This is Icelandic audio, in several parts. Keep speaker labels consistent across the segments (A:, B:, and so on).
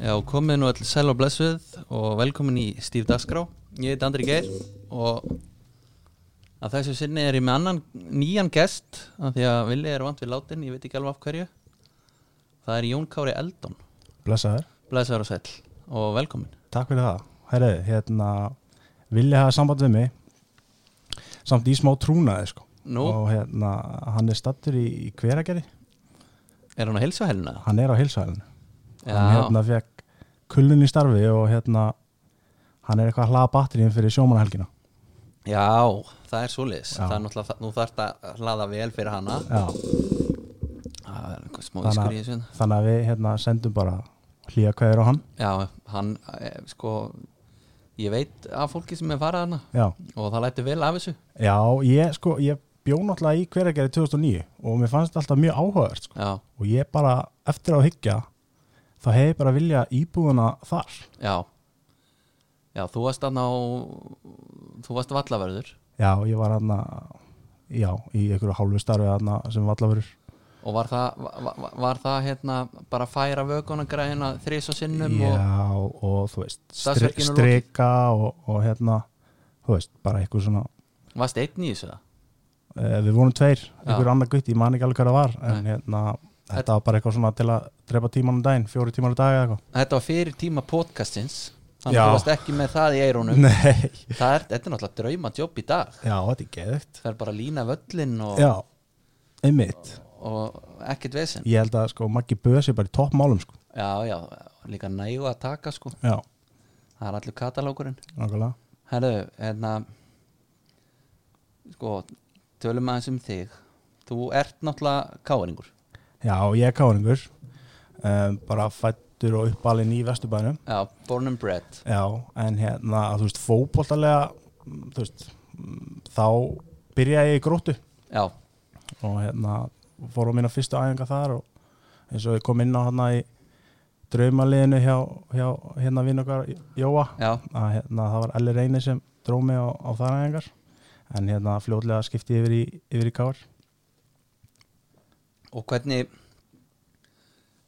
A: Já, komið nú allir sæl og blessuð og velkomin í Stíf Dagskrá. Ég heit Andri Geir og að þessu sinni er ég með annan nýjan gest af því að Vili er vant við látin, ég veit ekki alveg af hverju. Það er Jón Kári Eldon,
B: Blessaður.
A: blessaður og sæl og velkomin.
B: Takk fyrir það. Herru, hérna, Vili hafa samband við mig, samt í smá trúnaði, sko.
A: Nú,
B: Og hérna, hann er stattur í, í hveragerði,
A: er hann að heilsa helna?
B: hann er á heilsvælinu.
A: Já,
B: Hann hérna fekk kullun í starfi og hérna, hann er eitthvað að hlaða batteríum fyrir sjómanahelgina.
A: já, það er svoleiðis.
B: Já.
A: Það er náttúrulega, það- nú þarf þetta að hlaða vel fyrir hana.
B: Já,
A: Það er eitthvað smá
B: Þannig að-
A: ískur í þessu. hérna.
B: þannig að við hérna sendum bara hlýja kveður á hann.
A: Já, hann, eh, sko, ég veit af fólki sem er farað hana
B: Já,
A: og það læti vel af þessu.
B: já, ég sko, ég bjó náttúrulega í hveragerði 2009 og mér fannst þetta alltaf mjög áhugavert, sko.
A: Já,
B: og ég bara eftir á að higgja þá hef ég bara vilja íbúðuna þar
A: já Já, þú varst hann á þú varst vallaverður
B: já, ég var hann já, í einhverju hálfu starfi hann sem vallafurur
A: og var það, var, var- var það hérna bara að færa vökuna græðina þrís og sinnum og,
B: já, og þú veist stri,
A: Dagsverkinu lokið.
B: strika og, og hérna þú veist, bara einhver svona
A: varst einn í þessu það?
B: eh, við vorum tveir,
A: Já.
B: einhver annar gutt ég man ekki alveg hvað það var en
A: Nei.
B: hérna, þetta var bara eitthvað svona til að drepa tíman á daginn, fjóri tíman á dag eða eitthvað
A: Þetta var fyrir tíma podcastins þannig
B: Já.
A: að þú varst ekki með það í eirónum
B: nei,
A: það er, þetta er náttúrulega drauma jobb í dag
B: já, þetta er geðugt
A: það er bara að lína völlin og,
B: já, einmitt
A: og ekkert vesen
B: ég held að sko, Maggi Bös er bara í toppmálum sko.
A: Já, já, líka nægu að taka sko
B: já,
A: það er allur katalókurinn
B: nákvæmlega
A: Herru, hérna sko, tölum aðeins um þig þú ert náttúrulega káringur
B: Já, ég er káringur um, bara fættur og uppalinn í vesturbænum
A: já, born and bred
B: Já, en hérna, þú veist, fótboltalega mm, þú veist, mm, þá byrjaði ég í gróttu
A: já,
B: og hérna, fór á mína fyrstu æfinga þar og eins og ég kom inn á hana í draumaliðinu hjá, hjá hérna vinn okkar Jóa
A: já,
B: að hérna, það var allir reyni sem dró mig á, á þar æfingar en hérna fljótlega skipti ég yfir í, yfir í kár
A: og hvernig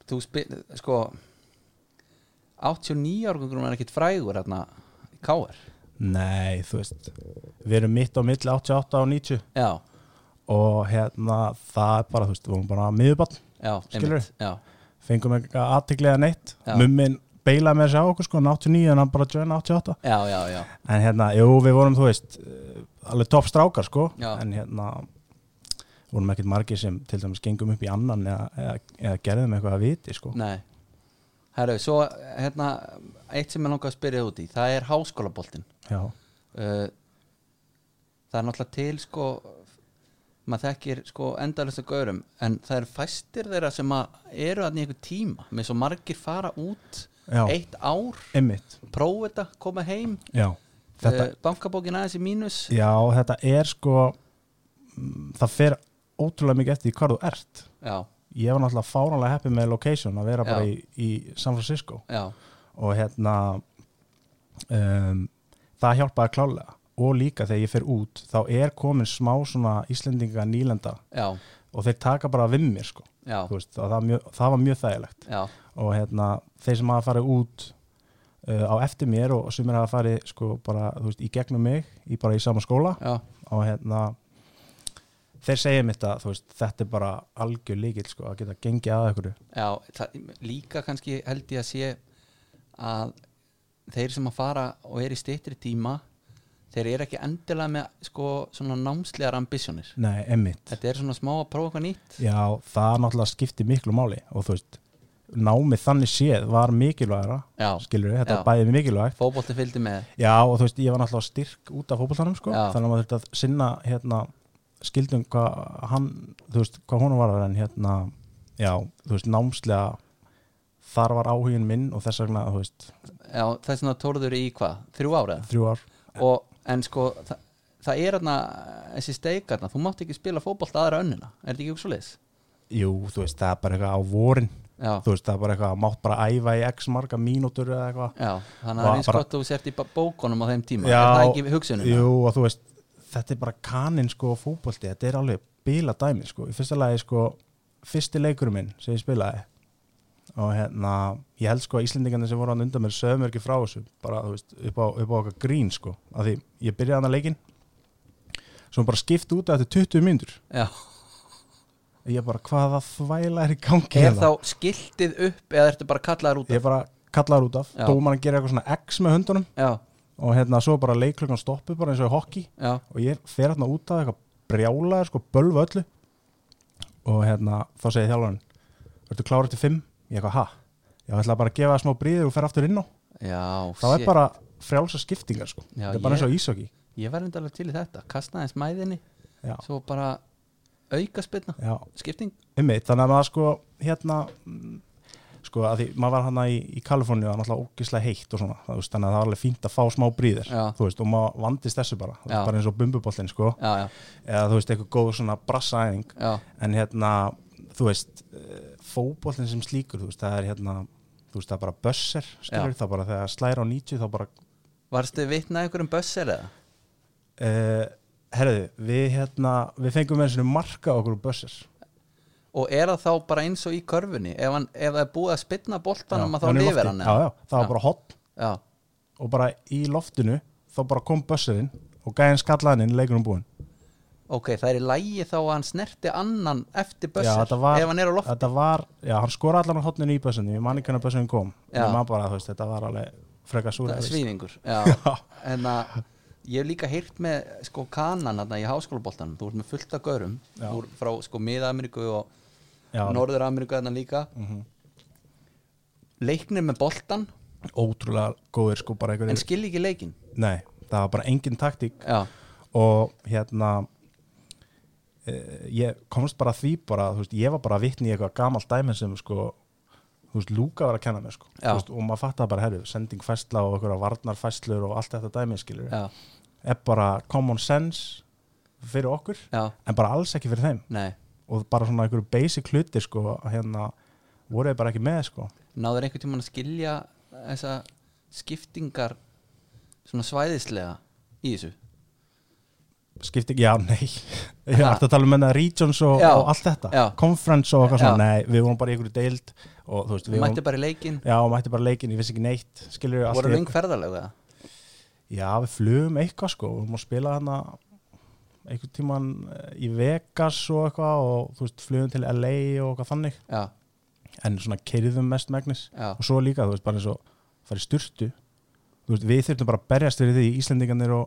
A: þú spil, sko 89 árgöngurum er ekkit frægur hérna, káir
B: Nei, þú veist, við erum mitt á milli 88 og 90
A: já,
B: og hérna það er bara, þú veist, við vorum bara miðubann,
A: já,
B: Skilurðu?
A: já,
B: fengum eitthvað aðtiklega neitt,
A: Já.
B: mummin beilaði með sér á okkur sko, hann 89 en hann bara join 88
A: já, já, já
B: en hérna, jú, við vorum, þú veist eh, alveg topp strákar, sko
A: Já.
B: en hérna, vorum ekkert margir sem til dæmis gengum upp í annan eða, eða, eða gerðum eitthvað að viti, sko
A: nei herru, svo hérna eitt sem ég langar að spyrja þig út í það er háskólaboltinn
B: Já,
A: uh, það er náttúrulega til sko maður þekkir sko endalista gaurum en það er fæstir þeirra sem að eru að einhver tíma með svo margir fara út
B: Já.
A: eitt ár,
B: einmitt,
A: prófa þetta koma heim,
B: já
A: þetta...
B: þetta,
A: bankabókin aðeins í mínus
B: Já, þetta er sko mm, það fer ótrúlega mikið eftir því hvar þú ert
A: já,
B: ég var náttúrulega fáranlega happy með location að vera bara
A: Já.
B: í, í San Francisco
A: já,
B: og hérna um, það hjálpaði klálega og líka þegar ég fer út þá er komin smá svona Íslendinga nýlenda
A: já
B: og þeir taka bara við mér sko
A: já,
B: Þú veist, og það, mjög, það var mjög þægilegt
A: já,
B: og hérna þeir sem hafa farið út uh, á eftir mér og sem hafa farið sko bara þú veist, í gegnum mig í bara í sama skóla
A: já
B: og hérna þeir segja mitt að veist, þetta er bara algjör líkil sko, að geta gengið að ykkur
A: Já, það, líka kannski held ég að sé að þeir sem að fara og er í stýttri tíma þeir eru ekki endilega með sko, svona námslegar ambisjónir
B: Nei, emmitt
A: þetta er svona smá að prófa eitthvað nýtt
B: Já, það náttúrulega skipti miklu máli og þú veist, námið þannig séð var mikilvægra,
A: Já.
B: skilur við þetta
A: Já.
B: var bæði mikilvægt
A: fótbolti fylgdi með
B: Já, og þú veist, ég var náttúrulega styrk út af fótboltanum sko,
A: Já.
B: þannig að maður þurfti að sinna hérna, skildum hvað hann þú veist, hvað honum var en hérna já, þú veist, námslega þar var áhugin minn og þess vegna, þú veist,
A: já, það er svona tórður í hvað, þrjú ára
B: þrjú ár
A: og, en sko, það, það er þarna þessi steikarna, þú mátt ekki spila fótbolta aðra önnina, er þetta ekki ekki svo leis?
B: Jú, þú veist, það er bara eitthvað á vorin
A: Já,
B: þú veist, það er bara eitthvað, mátt bara æfa í x marga mínútur eða eitthvað
A: já, þannig að
B: Va-
A: það er eins
B: bara-
A: gott að þú sért í bá- bókunum á þeim tíma,
B: Já,
A: er það ekki hugsunum?
B: Jú, og þú veist, þetta er bara kaninn sko á fótbolti, þetta er alveg bíla dæmi sko, í fyrsta lagi sko fyrsti leikurinn minn sem ég spilaði og hérna, ég held sko að Íslendingarnir sem voru hann undan mér sögum ekki frá þessu bara, þú veist, upp á, upp á okkar grín sko að því, ég byrjaði hann að leikin svo bara skipt út að þetta 20 mínútur
A: Já.
B: ég bara, hvaða þvæla er í gangi
A: Er
B: hérna?
A: þá skiltið upp eða ertu bara kallaðar út af?
B: ég bara kallaður út af,
A: Já.
B: dómarinn gerir eitthvað svona X með höndunum
A: Já,
B: og hérna, svo bara leikklokkan stoppu bara eins og í hockey
A: já,
B: og ég fer hérna út af eitthvað brjálaður sko, bölva öllu og hérna, þá segir þjálfarinn ertu klára til 5? Ég eitthvað, ha? Ég ætla bara að gefa það smá bríði og fer aftur inn á
A: já
B: það
A: shit.
B: er bara frjálsa skiptingar sko.
A: Já,
B: það er bara
A: ég-
B: eins og ísokki
A: Ég var enda alveg til í þetta, kastnaði smæðinni
B: já,
A: svo bara auka spilna
B: já,
A: skipting,
B: einmitt, þannig að maður sko hérna mm, sko að því maður var hana í, í Kaliforníu það var náttúrulega ógislega heitt og svona það, þú veist, þannig að það var alveg fínt að fá smá bríðir
A: Já.
B: þú veist, og maður vandist þessu bara það
A: Já.
B: er bara eins og bumbubollin sko
A: já, já,
B: eða þú veist, eitthvað góð svona brassaæðing
A: já
B: en hérna, þú veist eh, fótboltinn sem slíkur, þú veist, það er hérna þú veist, það er bara bösser skilur, það bara þegar slæra á 90 þá bara
A: Varstu vitnað einhverjum bössir eða?
B: uh, herðu, við hérna við fengum eins og marka á okkur úr bösser
A: Og er það þá bara eins og í körfunni? Ef, hann, ef það er búið að spilna boltanum að þá
B: hann er í
A: lifir
B: lofti.
A: hann
B: já,
A: eða?
B: já, það var
A: Já.
B: bara hotn
A: Já,
B: og bara í loftinu þá bara kom bösserinn og gæði hann skallaðinn inn leikunum búinn
A: ok, það er í lægi þá að hann snerti annan eftir
B: Já,
A: bössir
B: þetta var-
A: ef hann er á loft
B: þetta var, já, hann skora allan á hotninu í bösserinu ég man ekki hann að bösserinn kom
A: Já.
B: en maður bara, þú veist, þetta var alveg freka súra
A: svíningur já. en að ég hef líka heyrt með sko kanan þarna í háskólaboltanum þú ert með fullt af görum
B: Já.
A: úr, frá sko Mið-Ameríku og
B: já, Mhm.
A: Norður-Ameríku þarna líka leiknir með boltan
B: ótrúlega góðir sko bara
A: en
B: einhverjir,
A: skilji ekki leikin
B: nei, það var bara engin taktík
A: já,
B: og hérna eh, ég komst bara að því bara, þú veist, ég var bara vitni í eitthvað gamalt dæmi sem sko þú veist, Lúka var að kenna mér sko Þú
A: Já.
B: veist, og maður fattaði bara, herri, sending fæsla og einhverja varnar fæslur og allt þetta dæmi skilur
A: já,
B: er bara common sense fyrir okkur,
A: já,
B: en bara alls ekki fyrir þeim
A: nei
B: og bara svona einhverju basic hlutir sko, að hérna voru þeir bara ekki með sko
A: náður einhvern tímann að skilja þessa skiptingar svona svæðislega í þessu
B: skipti ekki, já, nei ég var alltaf að tala um menna regions og,
A: Já.
B: og allt þetta,
A: Já.
B: conference og eitthvað
A: Já.
B: svona, nei, við vorum bara í einhverju deild og þú veist,
A: þú
B: við vorum
A: mætti bara í leikin
B: Já, og mætti bara leikin, ég vissi ekki neitt Skilur við allt
A: voru
B: í-
A: löng ferðalög eða
B: Já, við flugum eitthvað sko Við vorum að spila hana einhvern tíman í Vegas og eitthvað og þú veist, flugum til LA og eitthvað þannig
A: já,
B: en svona keiriðum mest megnis
A: já,
B: og svo líka, þú veist, bara eins og farið styrtu þú veist, við þurftum bara að berjast fyrir því Íslendingarnir og,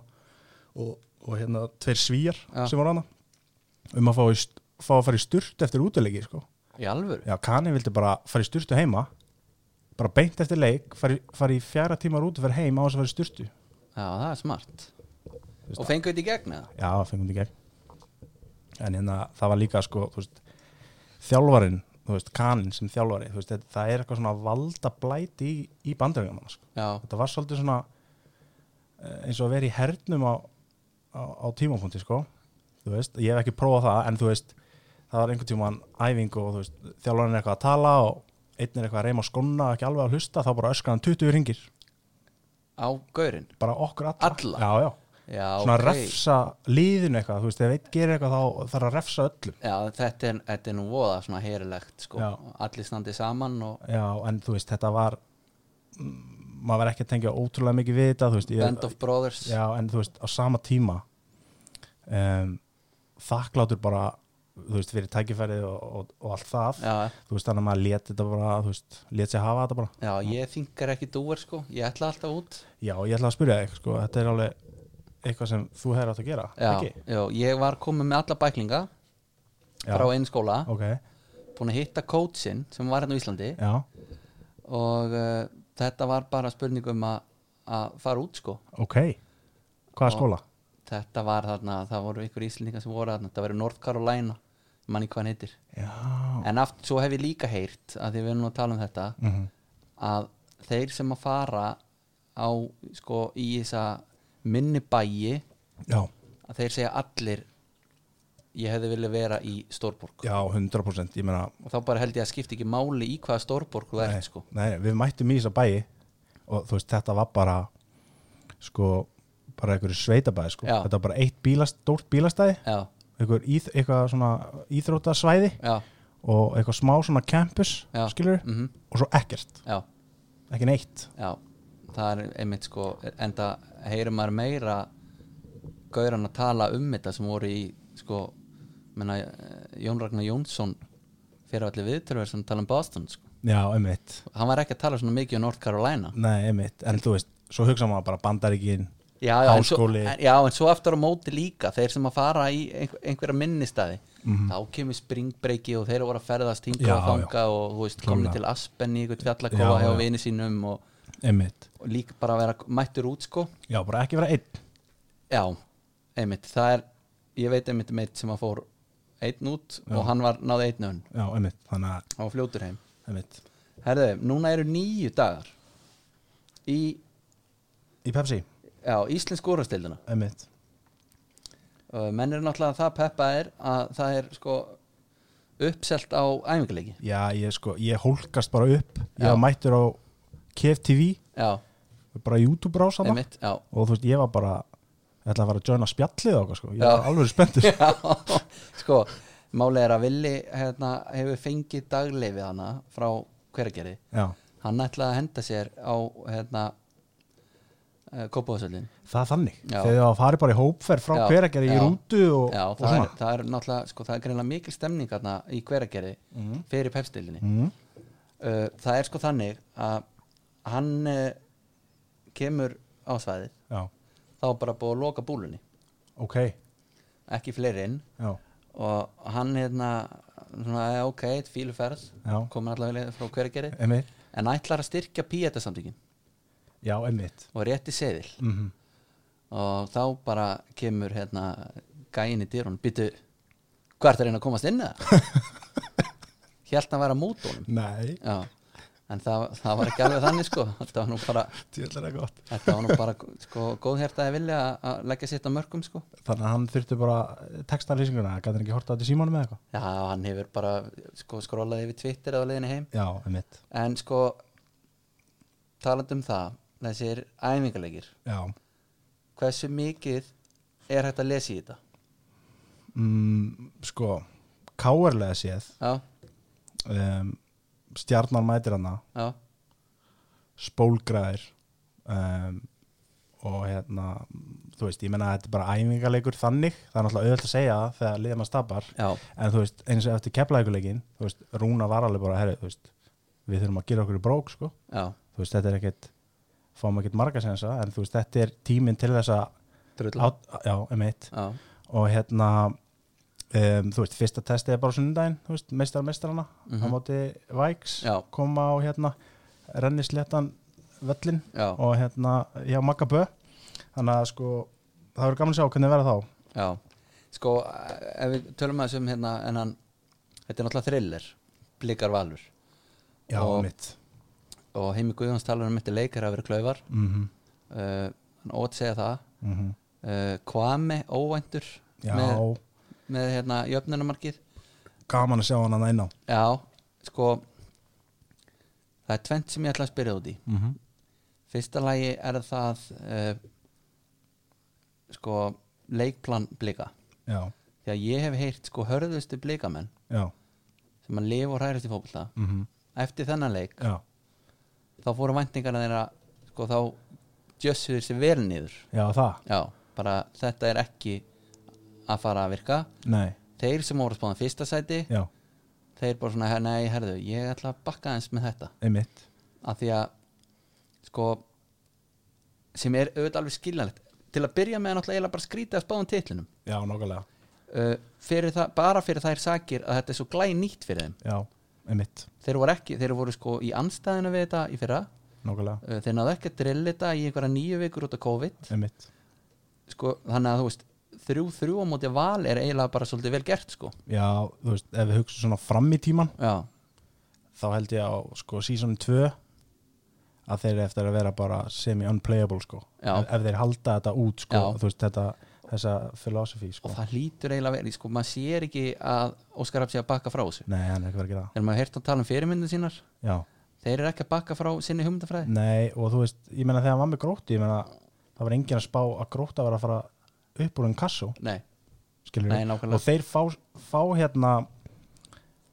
B: og, og hérna tveir svíjar
A: Já.
B: sem voru hana um að fá, í st- fá að fara í styrtu eftir útileiki sko.
A: í alvöru
B: Já, Kani vildi bara fara í styrtu heima bara beint eftir leik fara í, fara í fjara tímar út og vera heima á þess að fara í styrtu
A: já, það er smart
B: Veist
A: og fengu þetta í gegn eða
B: Já, fengum þetta í gegn en hérna, það var líka sko, þú veist, þjálfarin þú veist, Kanin sem þjálfari þú veist, þetta, það er eitthvað svona valda blæti í, í bandaríkjaman sko.
A: já,
B: þetta var svolítið svona eh, eins og að vera í hernum á, á, á tímapunkti sko. þú veist, ég hef ekki prófað það en þú veist, það var einhvern tímann æfing og þú veist, þjálfarinn er eitthvað að tala og einn er eitthvað að reyma á skóna ekki alveg að hlusta, þá bara öskar hann 20 ringir
A: á gaurin
B: bara okkur alla,
A: Alla?
B: Já, já.
A: já,
B: svona
A: ok.
B: refsa liðinu eitthvað, þú veist, ef einn gerir eitthvað þá þarf að refsa öllum
A: já, þetta er, þetta er nú voða svona herilegt sko.
B: Já.
A: allir standi saman og
B: já, en þú veist, þetta var mm, maður var ekki að tengja ótrúlega mikið við þetta, þú veist ég,
A: band of brothers
B: Já, en þú veist, á sama tíma um, þakklátur bara þú veist, fyrir tækifærið og, og, og allt það
A: já,
B: þú veist, þannig að maður lét þetta bara þú veist, lét sér hafa þetta bara
A: já ég þingar ekki dúer sko ég ætla alltaf út
B: já, ég ætla að spyrja þig, sko, þetta er alveg eitthvað sem þú hefur átt að gera,
A: já,
B: ekki?
A: já, ég var komið með alla bæklinga
B: Já,
A: frá einn skóla
B: ok,
A: búin að hitta coachin sem var hérna á Íslandi
B: já,
A: og uh, þetta var bara spurning um að, að fara út sko
B: ok hvaða skóla?
A: þetta var þarna, það voru ykkur íslendingar sem voru þarna, það voru North Carolina manni hvað hann heitir,
B: Já,
A: en aftur svo hef ég líka heyrt að því við erum nú að tala um þetta
B: mhm
A: að þeir sem að fara á sko í þessa minni bæi
B: Já,
A: að þeir segja allir ég hefði viljað vera í Stórborg
B: já, 100% ég meina,
A: og þá bara held ég að skipta ekki máli í hvaða Stórborg þú ert sko
B: nei, við mættum í þessa bæi og þú veist, þetta var bara sko, bara einhverju sveitabæði sko.
A: Já.
B: þetta var bara eitt bílast, stórt bílastæði
A: já,
B: einhver íþ, eitthvað svona íþrótasvæði
A: já,
B: og eitthvað smá svona campus
A: Já.
B: skilur,
A: mm
B: og svo ekkert
A: já,
B: ekki neitt
A: já það er einmitt sko enda heyrir maður meira gauran að tala um þetta sem voru í sko menna, eh, Jón Ragnar Jónsson fyrir allir viðtölver sem tala um Boston sko.
B: já, einmitt,
A: hann var ekki að tala svona mikið um North Carolina
B: nei, einmitt en þú veist, svo hugsa maður bara bandaríkin
A: já, já, en svo,
B: Háskóli.
A: en- já, en svo aftur á móti líka þeir sem að fara í einhver, einhverja minnistæði þá kemur springbreyki og þeir eru voru að ferðast hinga
B: Mhm. Já,
A: og þanga og þú veist, komni
B: Klárlega.
A: til Aspen í einhvern
B: Já,
A: fjallakofa hjá
B: já.
A: vini sínum og,
B: einmitt,
A: og líka bara að vera mættur út sko
B: já, bara ekki vera einn
A: já, einmitt, það er ég veit einmitt um eitt sem að fór einn út og hann var náði einn önn
B: já, einmitt, þannig að,
A: og fljótur heim
B: einmitt
A: herðu, núna eru nýju dagar í
B: í Pepsi,
A: já, íslensku úrastildina
B: einmitt
A: Uh, menn eru náttúrulega það peppa er að það er sko uppselt á æfingarleiki
B: já, ég sko, ég hólkast bara upp ég
A: Já.
B: var mættur á KFTV
A: já,
B: bara YouTube rása það
A: einmitt, já
B: og þú veist, ég var bara ég ætla að fara að joina spjallið og eitthvað sko. ég
A: Já.
B: var alveg spenntur
A: Já, sko, málið er að Villi hérna, hefur fengið dagleifið hana frá hveragerði
B: já.
A: hann ætlaði að henda sér á hérna eh, kópáðsöldin
B: það er þannig,
A: Já.
B: þegar það farið bara í hópferð frá
A: Já.
B: hveragerði í
A: Já.
B: rútu og,
A: já,
B: og
A: það er,
B: svona
A: það er náttúrulega sko, það er greinlega mikil stemning hérna í hveragerði
B: Mhm.
A: fyrir pepstildinni
B: mm.
A: uh, það er sko þannig að hann uh, kemur á svæðið
B: já,
A: þá er bara búið að loka búlunni
B: ok já.
A: ekki fleiri inn og hann hérna svona, eh, ok, eitt fíluferð
B: Já.
A: komin allavega leið frá hvergeri
B: Einmitt.
A: en ætlar að styrkja píeta samtökin
B: já, einmitt
A: og rétti seðil
B: mm
A: og þá bara kemur hérna gæin í dyrun, býtu hvert er einn að komast inn eða? Hélt hann að vera mót honum
B: nei,
A: já, en það, það var ekki alveg þannig sko, þetta var nú bara
B: tjóðlega gott
A: þetta var nú bara sko góðhertaði vilja að- að leggja sitt að mörgum sko
B: þannig að hann þurfti bara textalýsinguna gæti hann ekki horta þetta í símanum eða eitthvað
A: já, hann hefur bara sko skrólaði yfir Twitter á leiðinni heim
B: já, einmitt
A: En sko talandi um það þessir æfingarleikir
B: já.
A: hversu mikið er hægt að lesa í þetta
B: Mm, sko, káerlega séð
A: Já,
B: um, stjarnar mætir hana
A: já,
B: spólgræðir um, og hérna þú veist, ég menna að þetta er bara æfingarleikur þannig, það er náttúrulega auðvelt að segja það þegar liðan að stapar,
A: já,
B: en þú veist eins og eftir keflækuleikin, þú veist, Rúna var alveg bara, herri, þú veist, við þurfum að gera okkur í brók, sko,
A: já
B: þú veist, þetta er ekkit fáum ekkit marga sensa, en þú veist, þetta er tíminn til þess að,
A: Drulla
B: át- já, emitt
A: Já,
B: og hérna um, þú veist, fyrsta testið er bara á sunnudaginn þú veist, meistar meistarana á móti Væks,
A: Mhm. Já.
B: koma á hérna rennisléttan völlin
A: Já.
B: og hérna, já, Magga Bö þannig að sko, það verður gaman að sjá hvernig verður þá
A: já Sko, ef við tölum að þessum hérna en hann, þetta er náttúrulega thriller blikar valur
B: já,
A: Og-
B: mitt
A: og heimi Guðjóns talar um þetta leikar að vera klaufar
B: mm -hmm.
A: uh, hann ótt segja það uh, Kvame, óvæntur
B: mhm. já,
A: með, með hérna jöfnunamarkið
B: gaman að sjá hann að næna
A: Já, sko það er tvent sem ég ætla að spyrja út í
B: mm -hmm.
A: fyrsta lagi er það uh, sko leikplan blika
B: já,
A: því að ég hef heyrt sko hörðustu blikamenn
B: já,
A: sem að lifa og hrærast í fótbolta
B: mm
A: eftir þennan leik,
B: já
A: þá fóru væntingarna þeirra sko þá jössuður sér vel niður
B: já, það,
A: já, bara þetta er ekki að fara að virka
B: nei,
A: þeir sem voru spáðan fyrsta sæti
B: já,
A: þeir bara svona, nei, herðu, ég ætla að bakka eins með þetta
B: einmitt
A: að því að sko sem er auðvitað alveg skiljanlegt til að byrja með er náttúrulega eiginlega bara skrítið að spáðum titlinum
B: já, nokkulega,
A: uh, fyrir það, bara fyrir þær sakir að þetta er svo glæ nýtt fyrir þeim
B: já, einmitt
A: þeir voru ekki, þeir voru sko í anstæðina við þetta í fyrra,
B: nokkulega,
A: uh, þeir náðu ekki að drilla þetta í einhverja nýju vikur út af COVID
B: einmitt
A: sko, þannig að þú veist þrjú þrjú á móti val er eiginlega bara svolítið vel gert sko
B: já, þú veist, ef við hugsa svona fram í tíman
A: já,
B: þá held ég á sko season 2 að þeir eru eftir að vera bara semi-unplayable sko
A: Já.
B: ef, ef þeir halda þetta út sko
A: Já.
B: þú veist þetta, þessa philosophy sko
A: og það hlýtur eiginlega verið sko, maður sér ekki að Óskar Rapp sé að bakka frá þessu
B: nei, hann er ekki verið að gera
A: þegar maður heirt að tala um fyrirmyndin sínar
B: það já,
A: þeir eru ekki að bakka frá sinni hugmyndafræði
B: nei og þú veist, ég meina þegar hann var með gróttu ég meina, það var engin að spá að gróttu að vera að fara upp úr enn kassu
A: nei,
B: skilur
A: Nei, nákvæmlega.
B: og þeir fá, fá hérna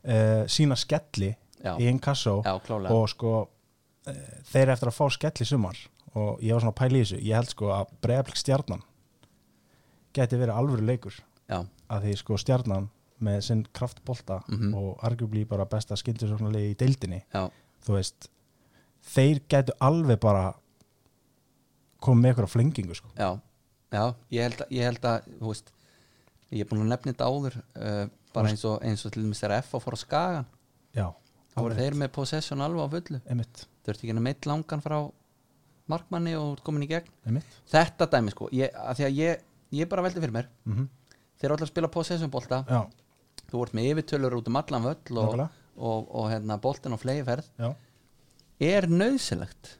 B: uh, sína skelli
A: Já.
B: í inkasso
A: Já, klálega.
B: og sko uh, þeir eftir að fá skelli sumar og ég var svona að pæla í þessu ég held sko að bregðarblik stjarnan geti verið alvöru leikur
A: já,
B: að því sko stjarnan með sinn kraftbolta
A: Mhm.
B: og arguably bara besta skyndisóknarlegi í deildinni
A: já,
B: þú veist þeir getu alveg bara komið með ykkur á flengingu sko.
A: já, já ég held, að- ég held að, þú veist ég er búin að nefna þetta áður uh, bara eins og, eins og til dæmis þegar F fór að skaga
B: já,
A: þá voru þeir með possession alveg á fullu
B: emitt,
A: þurfti ekki að meitt langan frá markmanni og þú ert komin í gegn
B: emitt
A: þetta dæmi sko, ég, að því að ég ég bara veldi fyrir mér,
B: mm
A: þeir eru allir að spila possession bolta
B: já,
A: þú vart með yfirtölur út um allan völl og,
B: Nákvæmlega.
A: og, og, hérna, boltin á fleiðferð
B: já,
A: er nöðsilegt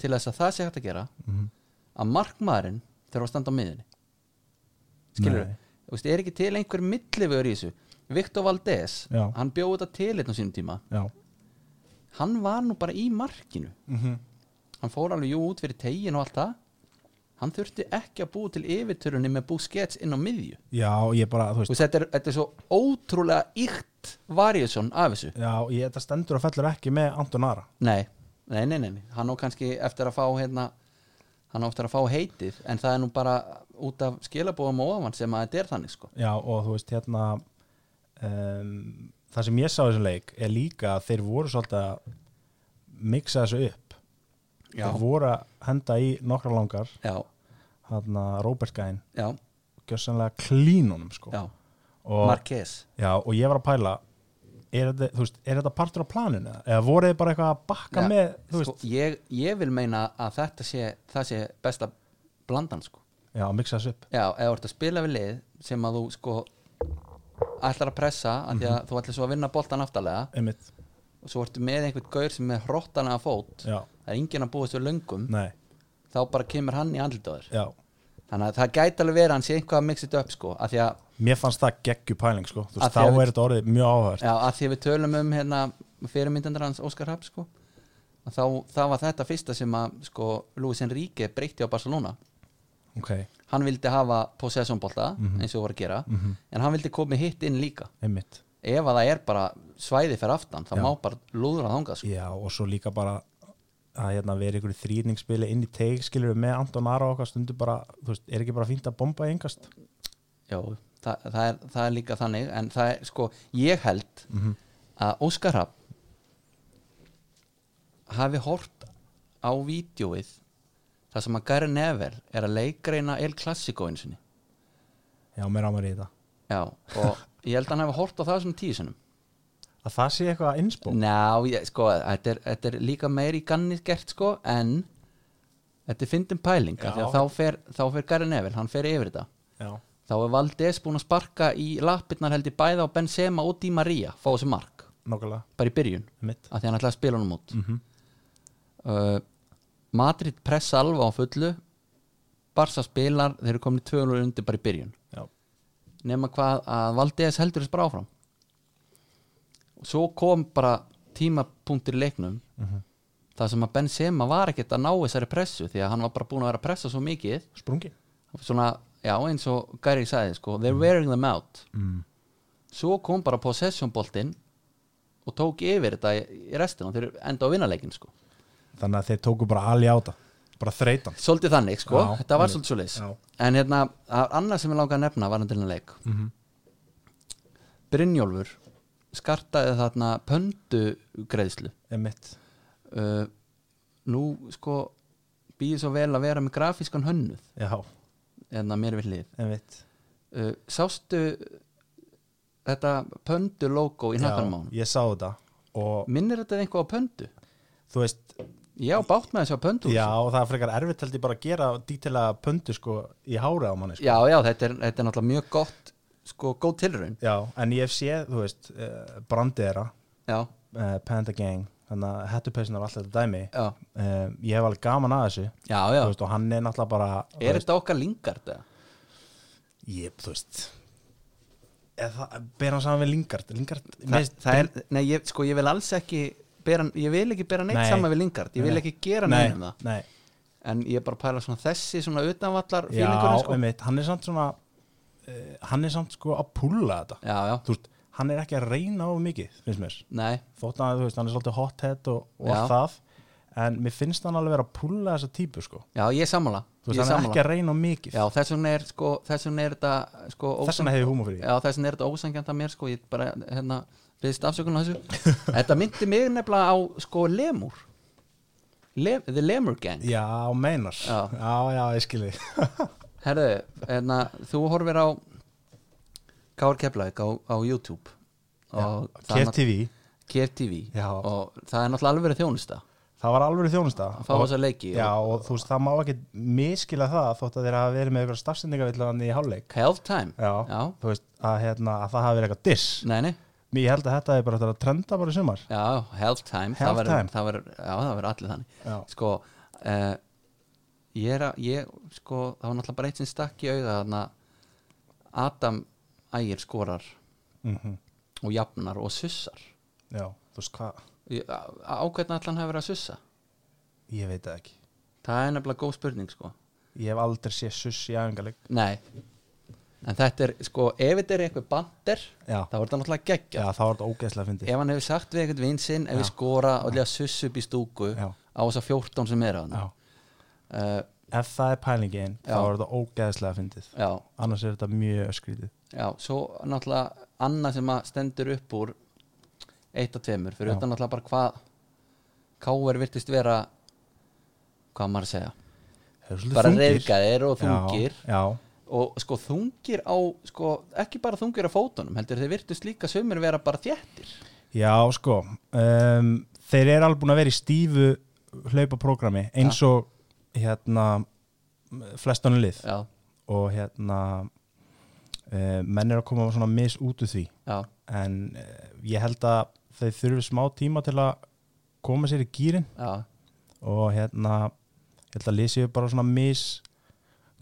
A: til þess að það sé hægt að gera
B: Mhm.
A: að markmaðurinn þurfa að standa á miðunni skilur
B: Nei.
A: þú, er ekki til einhver millivör í þessu Viktor Valdés,
B: Já.
A: hann bjóði þetta til einn á sínum tíma,
B: já
A: hann var nú bara í markinu
B: mm -hmm.
A: hann fór alveg jú út fyrir tegin og allt það hann þurfti ekki að búi til yfirtörunni með bú skets inn á miðju
B: Já, ég bara, þú
A: Þú
B: veist
A: veist, þetta, er, þetta er svo ótrúlega íkt Varjesson af þessu
B: Já, ég, þetta stendur og fellur ekki með Anton Ara
A: nei, nei, nei, nei, nei. hann á kannski eftir að fá hérna, hann á eftir að fá heitið en það er nú bara út af skilabóðum og ofan sem að þetta er þannig sko.
B: Já, og þú veist, hérna um, Það sem ég sá í þessum leik er líka að þeir voru svolítið að mixa þessu upp
A: Já.
B: Þeir voru að henda í nokkra langar
A: já,
B: hérna Robert Gæn
A: já,
B: gjössanlega klínunum sko
A: já,
B: og,
A: Marquez
B: já, og ég var að pæla er þetta, þú veist, er þetta partur á planinu eða- eða voru þið bara eitthvað að bakka
A: Já,
B: með þú
A: sko,
B: veist,
A: ég, ég vil meina að þetta sé, það sé besta blandan sko
B: já, mixa þessu upp
A: Já, eða þú ert að spila við lið sem að þú sko ætlar að pressa af því
B: Mhm.
A: að þú ætlar svo að vinna boltan aftalega
B: einmitt,
A: og svo ertu með einhvern gaur sem er hrottana að fót
B: já,
A: það er enginn að búast við löngum
B: nei,
A: þá bara kemur hann í andlutöður
B: já
A: þannig að það gæti alveg verið að hann sé eitthvað að mixa þetta upp sko af því að,
B: Mér fannst það geggju pæling sko
A: Að
B: Þú
A: því
B: veist, þá
A: að við-
B: er þetta orðið mjög áhært
A: já, að því að við tölum um hérna fyrirmyndandur hans Óskar Hrapp sko að þá, þá var þetta fyrsta sem að sko Luis Enrique breytti á Barcelona
B: Ok,
A: hann vildi hafa possessionbolta
B: Mhm.
A: eins og voru að gera en hann vildi komið hitt inn líka
B: einmitt
A: ef að það er bara svæði fyrir aftan þá
B: Já.
A: má bara lúðra þangað sko.
B: Já, og svo líka bara að hérna, vera ykkur þrýningsspili inn í teig skilur við með Anton Ara og okkar stundu bara þú veist, er ekki bara fínt að bomba yngast
A: Já, það, það, er, það er líka þannig en það er sko, ég held að Óskar Rapp hafi hort á vídjóið þar sem að Gary Neville er að leikreina El Clasico einu sinni
B: Já, mér ámar í þetta
A: Já, og ég held að hann hafi hort á það sem tíu sinum
B: Að það sé eitthvað að innspó
A: Ná, ég, sko, þetta er, þetta er líka meir í ganni gert sko, en þetta er fyndin pæling af því að
B: Já.
A: þá fer, þá fer Gary Neville, hann fer yfir þetta
B: Já,
A: þá er Valdés búin að sparka í lappirnar held ég bæða á Benzema og Di Maria fá þessi mark,
B: nokkulega,
A: bara í byrjun
B: einmitt
A: að því hann ætlaði að spila honum út
B: mm
A: uh, Madrid pressa alveg á fullu Barca spilar, þeir eru komin tvölu undir bara í byrjun
B: Já,
A: nema hvað að Valdés heldur þess bara áfram og svo kom bara tímapunktur í leiknum
B: mm -hmm.
A: það sem að Benzema var ekkert að ná þessari pressu því að hann var bara búin að vera að pressa svo mikið
B: sprungi
A: svona, já eins og Gary sagði sko, they're wearing them out
B: mm.
A: svo kom bara possession boltinn og tók yfir þetta í- í restina þeir eru enda á vinnarleikin sko
B: Þannig að þeir tóku bara alveg á þetta bara þreytan
A: svolítið þannig sko,
B: Já,
A: þetta var
B: einmitt.
A: svolítið svolítið
B: Já.
A: en hérna, það er annað sem ég langa að nefna var hann til leik
B: mm -hmm.
A: Brynjólfur skartaði þarna pöndugreðslu
B: Einmitt
A: uh, nú sko býði svo vel að vera með grafískan hönnuð
B: Já,
A: en mér við hlið
B: einmitt
A: uh, sástu þetta pöndu logo í
B: Já,
A: nakkarmán
B: ég sá þetta og
A: minnir þetta eitthvað á pöndu?
B: þú veist,
A: Já, bátt með þessu á pöndu
B: Já, og það er frekar erfitt held ég bara að gera dítilega pöndu sko í hárið á manni sko.
A: Já, já, þetta er, þetta er náttúrulega mjög gott sko, góð tilraun
B: Já, en ég hef séð, þú veist, uh, Brandera,
A: Já,
B: uh, Panda Gang, þannig að hettupeysunar alltaf þetta dæmi.
A: já,
B: Uh, ég hef alveg gaman að þessu,
A: já,
B: þú
A: já.
B: veist, og hann er náttúrulega bara, þú
A: Er
B: veist,
A: þetta okkar lingard? eða?
B: ég, þú veist, eða það, ber hann saman við Lingard, Lingard,
A: Þa, það er, nei, ég, sko, ég vil alls ekki bera, ég vil ekki bera neitt
B: Nei.
A: saman við lingard ég vil
B: Nei.
A: ekki gera
B: nei,
A: neinum það
B: nei,
A: en ég er bara að pæla svona þessi svona utanvallar
B: já,
A: fílingurinn sko
B: eh, einmitt, hann er samt svona, uh, hann er samt sko að púla þetta,
A: Já, já,
B: þú veist, hann er ekki að reyna á mikið, finnst mér
A: Nei,
B: þótt að þú veist, hann er svolítið hothead og, og
A: Já.
B: allt það en mér finnst hann alveg vera að púlla þessa típu sko.
A: já, ég er sammála
B: þú
A: Ég er
B: veist, hann er ekki
A: sammála
B: að reyna á mikið
A: Já, þess vegna er, sko, þess vegna er þetta sko,
B: þess
A: ósann-
B: vegna hefði húmur fyrir því
A: Já, þess vegna er þetta ósangjant að mér sko, ég bara, hérna, byggðist afsökun á þessu Þetta myndi mig nefnilega á, sko, Lemur Lem, The Lemur Gang
B: já, meinar, já,
A: Já.
B: já, ég skilji
A: Herðu, hérna, þú horfir á Kár Keflæk á, á YouTube og það er
B: Kér TV,
A: nátt- Kér TV
B: Já.
A: og það er náttúrulega alveg verið þjónusta
B: það var alveg þjónusta
A: að fá
B: Og-
A: þessa leiki
B: já, og þú veist, það má ekki miskila það þótt að þeir hafa verið með eitthvað stafsendingavillan í hálfleik
A: og health time
B: já, þú veist, að, hérna, að það hafi verið eitthvað diss
A: Nei, nei,
B: mér ég held að þetta er bara að trenda bara í sumar
A: já, health time
B: Health
A: það verður-
B: time.
A: það verður- Já, það verður allir þannig
B: já,
A: sko uh, ég er að ég, sko, það var náttúrulega bara eitt sem stakk í auða þarna Adam Ægir skorar
B: mm
A: og jafnar og sussar
B: já þú veist hvað,
A: Ég- á á hvernig allan hefur verið að sussa
B: ég veit það ekki
A: það er nefnilega góð spurning sko
B: ég hef aldrei séð suss í æfingarleik
A: nei, en þetta er sko ef þetta er eitthvað bandir
B: já,
A: þá er þetta náttúrulega geggja
B: já, það var þetta ógeðslega fyndið
A: ef hann hefur sagt við eitthvað vinsinn ef
B: Já.
A: við skora og lega sussu upp í stúku
B: Já.
A: á þessa 14 sem er að hann
B: Já.
A: uh,
B: ef það er pælingin, þá
A: Já.
B: er þetta ógeðslega fyndið
A: já,
B: annars er þetta mjög öskrítið
A: Já, svo náttúrulega annað sem að stendur upp úr eitt og tveimur, fyrir
B: Já.
A: utan náttúrulega bara hvað Káver virtist vera hvað á maður að segja
B: Þeir eru svolítið
A: bara
B: þungir.
A: reyðgæðir og þungir
B: já, já,
A: og sko þungir á sko, ekki bara þungir á fótunum heldur þeir virtist líka sömur vera bara þjættir
B: já, sko um, þeir eru alveg búin að vera í stífu hlaupaprógrami eins og hérna flestunni lið
A: Já,
B: og hérna uh, menn eru að koma svona mis út úr því
A: já,
B: en uh, ég held að þeir þurfi smá tíma til að koma sér í gýrin
A: já,
B: og hérna ég held að lýsi bara svona mis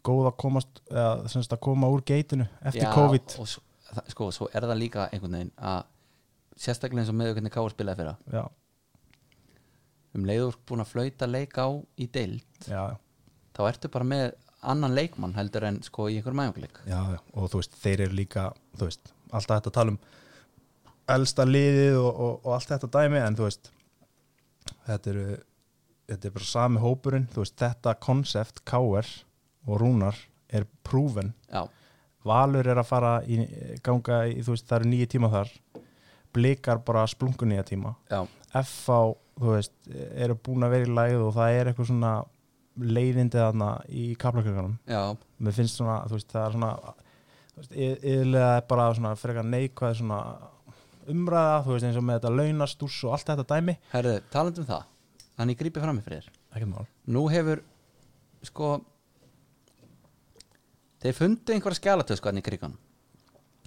B: góð að komast eða, sem sagt að koma úr geitinu eftir
A: já
B: COVID
A: og svo, það- sko, svo er það líka einhvern veginn að sérstaklega eins og með hvernig Káver spilaði fyrir
B: já,
A: um leiður búin að flauta leik á í deild
B: já,
A: þá ertu bara með annan leikmann heldur en sko í einhverjum æfingleik
B: já, já, og þú veist þeir eru líka, þú veist, alltaf þetta tala um elsta liðið og, og, og allt þetta dæmi en þú veist þetta eru þetta er bara sami hópurinn, þú veist þetta konsept KR og Rúnar er prúven
A: já,
B: Valur er að fara í ganga í, þú veist, það eru nýju tíma þar blikar bara splunku nýja tíma
A: já,
B: FH, þú veist, eru búin að vera í lægð og það er eitthvað svona leiðindi þarna í kaplakökunum
A: já,
B: mér finnst svona, þú veist, það er svona þú veist, yð- yðurlega er bara svona frekar neikvæð svona umræða, þú veist, eins og með þetta launastús og allt þetta dæmi
A: herðu, talandi um það þannig ég grípi fram með fyrir þér
B: ekkert mál,
A: nú hefur sko þeir fundu einhverja skjálatösku hann í krigan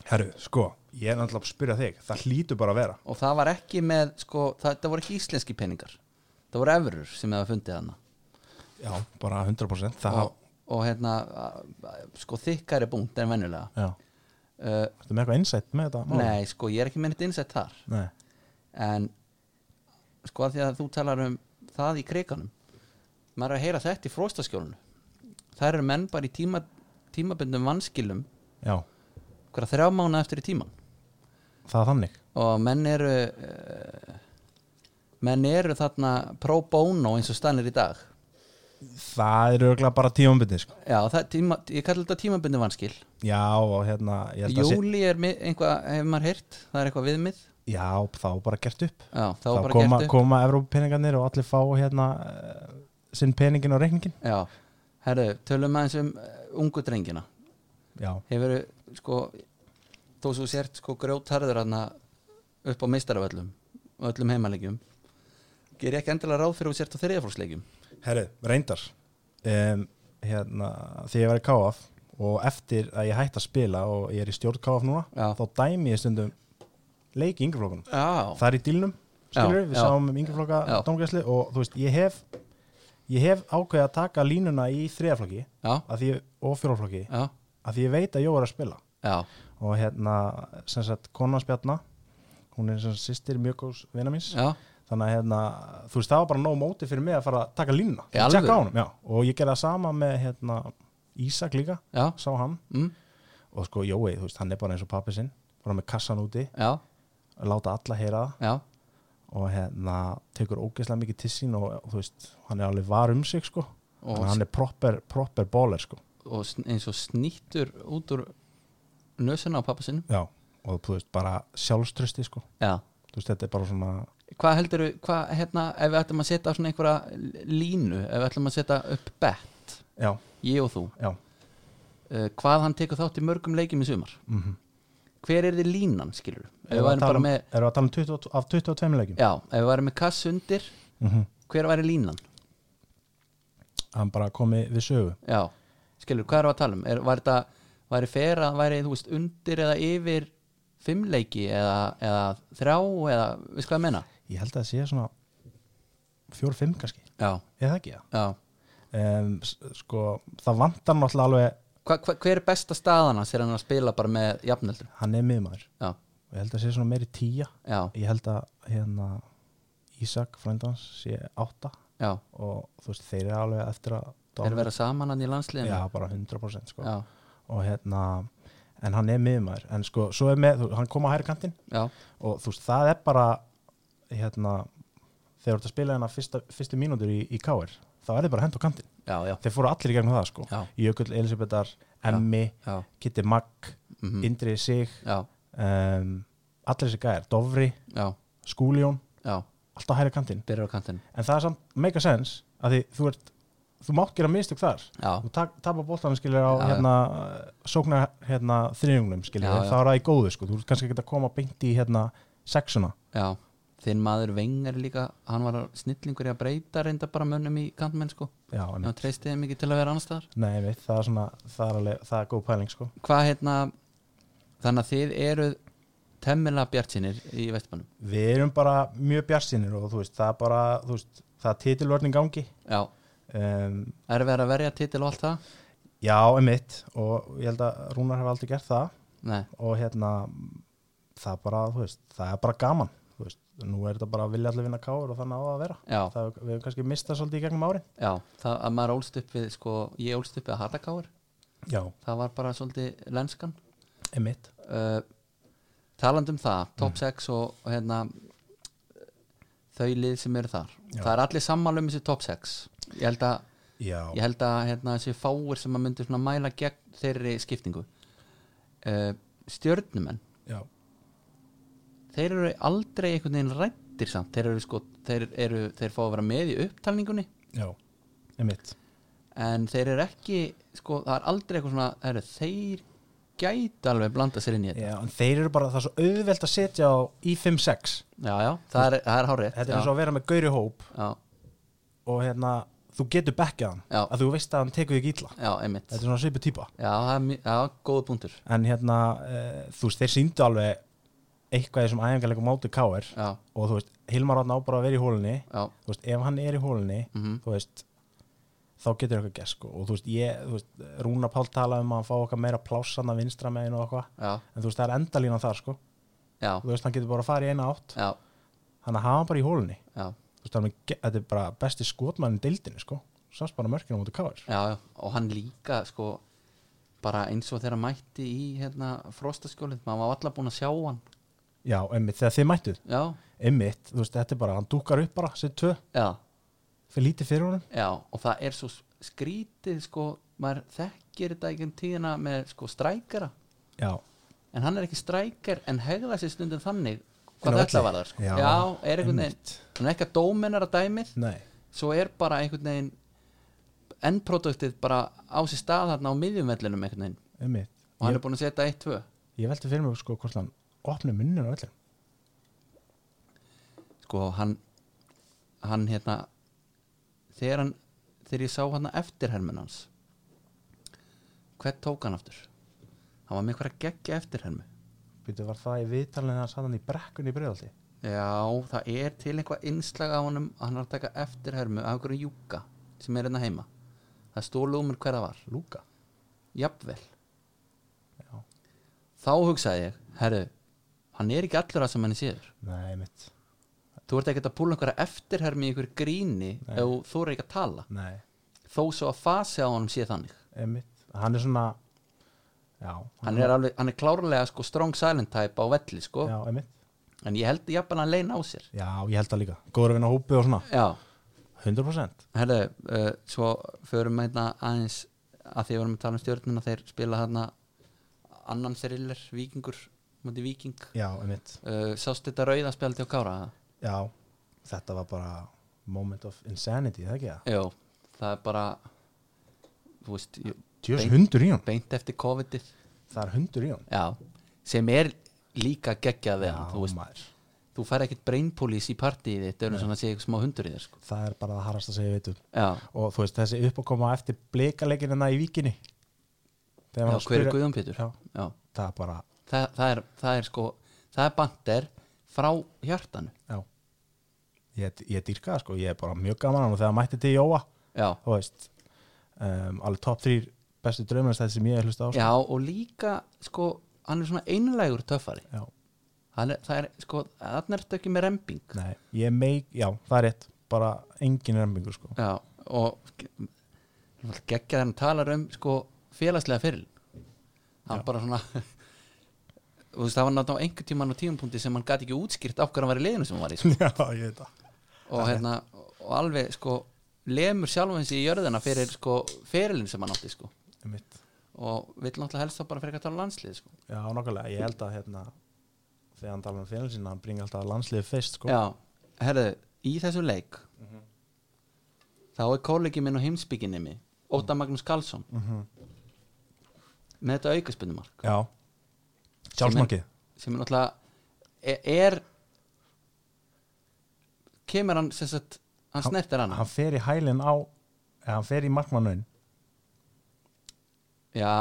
B: herru, sko ég er náttúrulega að spyrja þig, það hlýtur bara að vera
A: og það var ekki með sko, það, það voru ekki íslenski peningar það voru efurur sem hefur fundið hann
B: já, bara 100% það,
A: og, og hérna a- a- sko þykkari búnt en venjulega
B: já,
A: uh,
B: ertu með eitthvað insight með þetta? mál?
A: nei, sko, ég er ekki með neitt innsett þar
B: nei,
A: en sko að því að þú talar um það í kriganum maður er að heyra þetta í fróstaskjólinu þar eru menn bara í tíma, tímabundum vanskilum
B: já,
A: hverja þrjá mánu eftir í tíman
B: það er þannig
A: og menn eru uh, menn eru þarna pro bono eins og stannir í dag
B: það eru örugglega bara tíumbyrni, sko
A: já, það, er tíma, ég kallar þetta tímabundum vanskil
B: já, og hérna, ég held að sé
A: júli er mi- einhvað, hefur maður heyrt það er eitthvað viðmið
B: já, þá er bara gert upp
A: já, þá
B: þá
A: er bara
B: koma,
A: gert upp
B: koma Evrópupeningarnir og allir fá hérna uh, sinn peningin og reikningin
A: já, herru, tölum aðeins um eh, ungu drengina
B: já,
A: hefur sko þó svo sért sko grjótarður hana upp á meistaravöllum og öllum heimalegjum ger ég ekki endilega ráð fyrir að þú sért á þriðafólkslegjum
B: herru, reyndar um, hérna, þegar ég var í KF og eftir að ég hætti að spila og ég er í stjórn KF núna
A: Já.
B: þá dæmi ég stundum leik í yngreflokkunum
A: já,
B: það er í dílnum, skilur
A: Já,
B: við
A: já.
B: sáum um yngreflokka
A: Já.
B: domgæsli og þú veist, ég hef ég hef ákveðið að taka línuna í þriðaflokki
A: já,
B: og fjóraflokki
A: já,
B: að því ég veit að ég var að spila
A: já,
B: og hérna sem sagt konansbjarna hún er sem sagt sýstir mjög góðs vina míns
A: já,
B: þannig að hérna, þú veist það var bara nóg móti fyrir mig að fara að taka línuna
A: Í
B: Ég
A: alvöru?
B: tjekka á honum, já. og ég gerði það sama með hérna, Ísak líka,
A: já
B: sá hann
A: mm,
B: og sko Jói, þú veist, hann er bara eins og pappi sinn bara með kassan úti
A: já,
B: láta alla heyra það
A: já,
B: og hérna tekur ógeðslega mikið til sín og, og þú veist, hann er alveg var um sig sko
A: Og-
B: og hann er proper, proper baller sko
A: og sn- eins og snýttur út úr nösuna á pappa sinn
B: já, og þú veist, bara sjálfströsti sko,
A: já,
B: þú veist, þetta er bara svona
A: hvað heldur hvað, hérna, ef við ætlum að setja svona einhverja línu, ef við ætlum að setja upp bett,
B: já,
A: ég og þú
B: já,
A: uh, hvað hann tekur þátt í mörgum leikjum í sumar
B: mhm
A: hver er þið línan, skilur ef við
B: Erum við að
A: værum
B: tala
A: bara
B: um,
A: með,
B: erum við að tala um 20, af 22 leikjum?
A: já, ef við værum með kass undir
B: Mhm.
A: hver væri línan
B: Hann bara komi við sögu
A: já, skilur, hvað erum við að tala um er, var þetta, væri fer að væri þú veist, undir eða yfir fimm leiki eða, eða þrjá eða, veist hvað ég menna
B: Ég held að það sé svona 4-5 kannski,
A: já,
B: er það ekki það?
A: já
B: Um, sko, það vantar náttúrulega alveg
A: hva, hva, hver er besta staðan hans er hann að spila bara með jafnöldur
B: hann er miðmaður
A: já,
B: og ég held að sé svona meiri 10
A: já,
B: ég held að hérna Ísak frændans sé 8
A: já
B: og þú veist, þeir eru alveg eftir að
A: er vera saman hann í landsliðinu
B: Já, bara 100% sko.
A: já,
B: og hérna, en hann er miðmaður en sko, svo er með, þú, hann kom á hæri kantinn
A: já,
B: og þú veist, það er bara hérna þegar þú ert að spila hérna fyrsta, fyrstu mínútur í, í KR þá er þið bara hend á kantinn
A: já, já,
B: þeir fóru allir í gegnum það sko
A: Já.
B: Jökull Elisabethar, Emmi,
A: já,
B: Kitty Magg
A: Mhm.
B: Indri Sig
A: já,
B: um, allir þessi gæðir, Dofri,
A: já,
B: Skúljón
A: já.
B: allt á hæri kantinn,
A: byrjar á kantinn
B: en það er samt mega sense að því þú ert þú mátt gera mistök þar
A: já,
B: þú tak- tapar bóltanum skilur á
A: Já, já.
B: hérna, sókna hérna þriðjungnum skilur,
A: Já, já.
B: þá er það í góðu sko þú ert kannski ekki að koma beint í hérna sexuna
A: já þinn maður Vengar líka, hann var snillingur í að breyta reynda bara mönnum í kantmenn sko
B: Já,
A: já, treysti þeim ekki til að vera annars staðar
B: Nei, veit, það er svona, það er alveg, það er góð pæling, sko.
A: hvað hérna þannig að þið eruð temmilega bjartsinir í vestmannum
B: Við erum bara mjög bjartsinir og þú veist, það er bara, þú veist, það er titilvörning gangi.
A: já,
B: Um,
A: er verið að verja titil og allt það
B: já, emitt, og ég held að Rúnar hefur aldrei gert það
A: nei,
B: og hérna, það er bara, þú veist, það er bara gaman, þú veist, nú er þetta bara að vilja allir vinna káur og þannig á það að vera.
A: já,
B: Það, við höfum kannski mistað svolítið í gegnum árin.
A: já það að maður ólst upp við sko, ég ólst upp við að hatakáur
B: Já,
A: það var bara svolítið lenskan
B: emitt.
A: uh, taland um það top 6 og, og hérna þau lið sem eru þar
B: Já.
A: það er allir sammála um þessi top 6 ég held að,
B: Já,
A: ég held að hérna, þessi fáir sem að myndu svona mæla gegn þeirri skiptingu uh, stjörnumenn
B: já,
A: þeir eru aldrei einhvern veginn rættir samt þeir eru sko, þeir eru þeir fá að vera með í upptalningunni
B: já, emitt.
A: en þeir eru ekki, sko, það er aldrei eitthvað svona, heru, þeir gæti alveg blanda sér inn í þetta já,
B: Já, en þeir eru bara, það er svo auðvelt að setja á í 5-6.
A: já, það er, það er hárið
B: Þetta er eins og að vera með gauri hóp
A: já,
B: og hérna, þú getur bekkjað hann
A: Já.
B: að þú veist að hann tekur þig ítla
A: já, einmitt
B: þetta er svona svipu típa
A: Já, það er mj- já, góð punktur
B: en hérna, uh, þú veist, þeir síndu alveg eitthvað í þessum æfingarleikum móti káir
A: Já,
B: og þú veist, Hilmar Rátt ná bara að vera í hólunni
A: já,
B: þú veist, ef hann er í hólunni
A: mhm,
B: þú veist, þá getur eitthvað gæst sko. og þú veist, ég, þú veist, Rúna Pál tala um að hann fá okkar meira plássanna vinstra megin og eitthvað,
A: já,
B: en þú veist, það er endalínan þar sko,
A: já,
B: þú veist, hann getur bara að fara í eina átt
A: já,
B: hann að hafa hann bara í hólunni
A: já,
B: þú veist, hann er með ge- þetta er bara besti skotmann í deildinni sko, sást bara mörkina mútið káir
A: já, já og hann líka, sko bara eins og þeirra mætti í hérna, frostaskjólið, maður var allar búin að sjá hann
B: Já, einmitt, þegar þið mættuð
A: Já,
B: einmitt, þú veist, þetta er bara, hann dúkar upp bara sér tvö,
A: já,
B: fyrir lítið fyrir honum
A: já og það er svo skrítið, sko maður þekkir þetta ekki um tíðina með, sko, strækara
B: Já,
A: en hann er ekki strækar en hegða sér stundum þannig
B: Inn
A: hvað
B: á
A: þetta
B: velli.
A: var þar, sko
B: Já,
A: er einhvern veginn,
B: einmitt.
A: hann er ekki að dómenara dæmið
B: nei,
A: svo er bara einhvern veginn endproduktið bara á sér stað þarna á miðjumvellinum einhvern veginn
B: einmitt
A: og hann
B: ég,
A: er búin að setja 1-2
B: ég velti fyrir mig sko hvort hann opni munnur á öllum
A: sko hann hann hérna þegar hann, þegar ég sá hann eftirhermin hans hvert tók hann aftur hann var með einhverja geggja eftirhermi
B: Býtu, var það í viðtalinu hann satt hann í brekkunni í bregðaldi
A: já, það er til einhvað innslag á honum að hann er að taka eftirhermi af einhverjum júka sem er hérna heima það stólu um mér hver það var
B: Lúka
A: jafnvel
B: Já.
A: þá hugsaði ég, herru hann er ekki allur að sem hann er síður
B: Nei, einmitt,
A: þú ert ekkert að púla einhverja eftirhermi í einhver gríni
B: Nei.
A: ef þú er ekki að tala
B: nei,
A: þó svo að fasi á honum sé þannig
B: einmitt Hann er svona já,
A: hann er, alveg, hann er klárlega sko strong silent type á velli sko
B: já, einmitt
A: en ég held jafnvel að hann leina á sér
B: já, ég held það líka, góður að vinna hópi og svona
A: já,
B: 100%
A: herðu, uh, svo förum við hérna aðeins að því við vorum að tala um stjórnina þeir spila hérna annan thriller, vikingur múti viking
B: já, einmitt,
A: uh, sást þetta rauða spjaldi á Kára eða?
B: já, þetta var bara moment of insanity, það ekki það
A: já, það er bara þú veist, ég-
B: Djöfs
A: beint,
B: hundur í hann,
A: beint eftir COVID-ið
B: það er hundur í hann
A: já, sem er líka geggjað þegar, þú veist,
B: maður
A: þú fær ekkit brain police í partíið þitt, það eru svona að sé eitthvað smá hundur í þér sko.
B: það er bara það harrast að segja veitum
A: já,
B: um. og þú veist þessi upp að koma eftir blikaleikinina í víkinni
A: já
B: Þegar hann
A: hver er
B: spyr-
A: Guðjón Pétur
B: já,
A: já,
B: það er bara,
A: það, það, er, það er sko það er bandir frá hjartanu
B: já ég, ég dýrka það sko, ég er bara mjög gaman á hann og þegar mætti til Jóa,
A: já,
B: þú veist um, alveg top 3 bestu draumannstæð sem ég hef hlusta á sko.
A: já og líka sko, hann er svona einlægur töffari
B: já,
A: Hann er, það er sko, þannig er þetta ekki með remping
B: nei, ég meik, já, það er rétt bara engin rembingur sko
A: já, og geggja þannig talar um sko félagslega fyrir hann bara svona þú veist, það var náttúrulega einhvern tíman á tímumpunkti sem hann gæti ekki útskýrt af hverju hann var í liðinu sem hann var í sko.
B: já, ég veit það
A: og hérna, og alveg sko lemur sjálf hans í jörðina fyrir sko ferilin sem hann átti sko
B: Einmitt.
A: og vill náttúrulega helst þá bara fyrir að tala landslið sko.
B: já, nokkulega, ég held að hérna þegar hann talar um félagin sinna, hann bringi alltaf landsliðið fyrst sko,
A: já, herðu, í þessum leik þá er kollegi minn og heimsbygginni mi Óta Magnús Karlsson með þetta aukaspunumark
B: já. sjálfsmarkið
A: sem er náttúrulega er, er kemur hann sem sagt, hann snertir hann
B: hann fer í hælinn á eða hann fer í markmannun
A: já,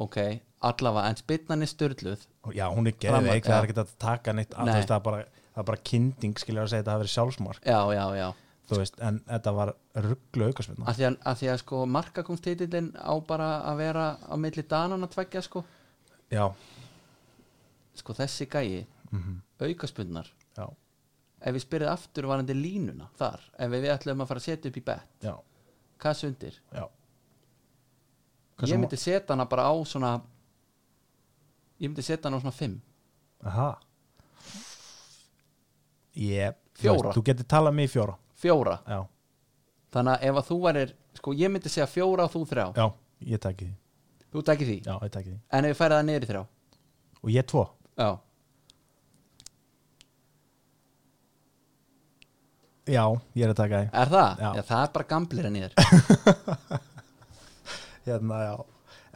A: ok, allavega en spynnan er styrluð
B: já, hún er
A: Framar,
B: geðveik, það
A: já.
B: er ekki hægt að taka neitt að,
A: Nei.
B: þú veist, það, er bara, það er bara kinding skilja að segja þetta hafi verið sjálfsmark
A: já, já, já
B: þú veist, en þetta var rugglu aukasvinna
A: að því að, að, því að sko markakumstitillin á bara að vera á milli danana tveggja sko
B: já, Mhm.
A: sko þessi gæi aukaspunnar
B: já,
A: ef við spyrðið aftur varandi línuna þar ef við ætlum að fara að setja upp í bett
B: já,
A: hvað sundir?
B: já
A: ég myndi setja hana bara á svona ég myndi setja hana á svona 5
B: aha ég,
A: Fjóra.
B: þú veist, þú getur talað um mig í fjóra
A: fjóra
B: já,
A: þannig að ef að þú værir sko ég myndi segja fjóra og þú þrjá
B: já, ég taki því
A: þú tekir því
B: já, ég taki því
A: en ef við færið það niður í þrjá
B: og ég tvo,
A: já
B: já, ég er að taka því
A: er það?
B: Já.
A: það er bara gamblir en niður
B: hérna, já.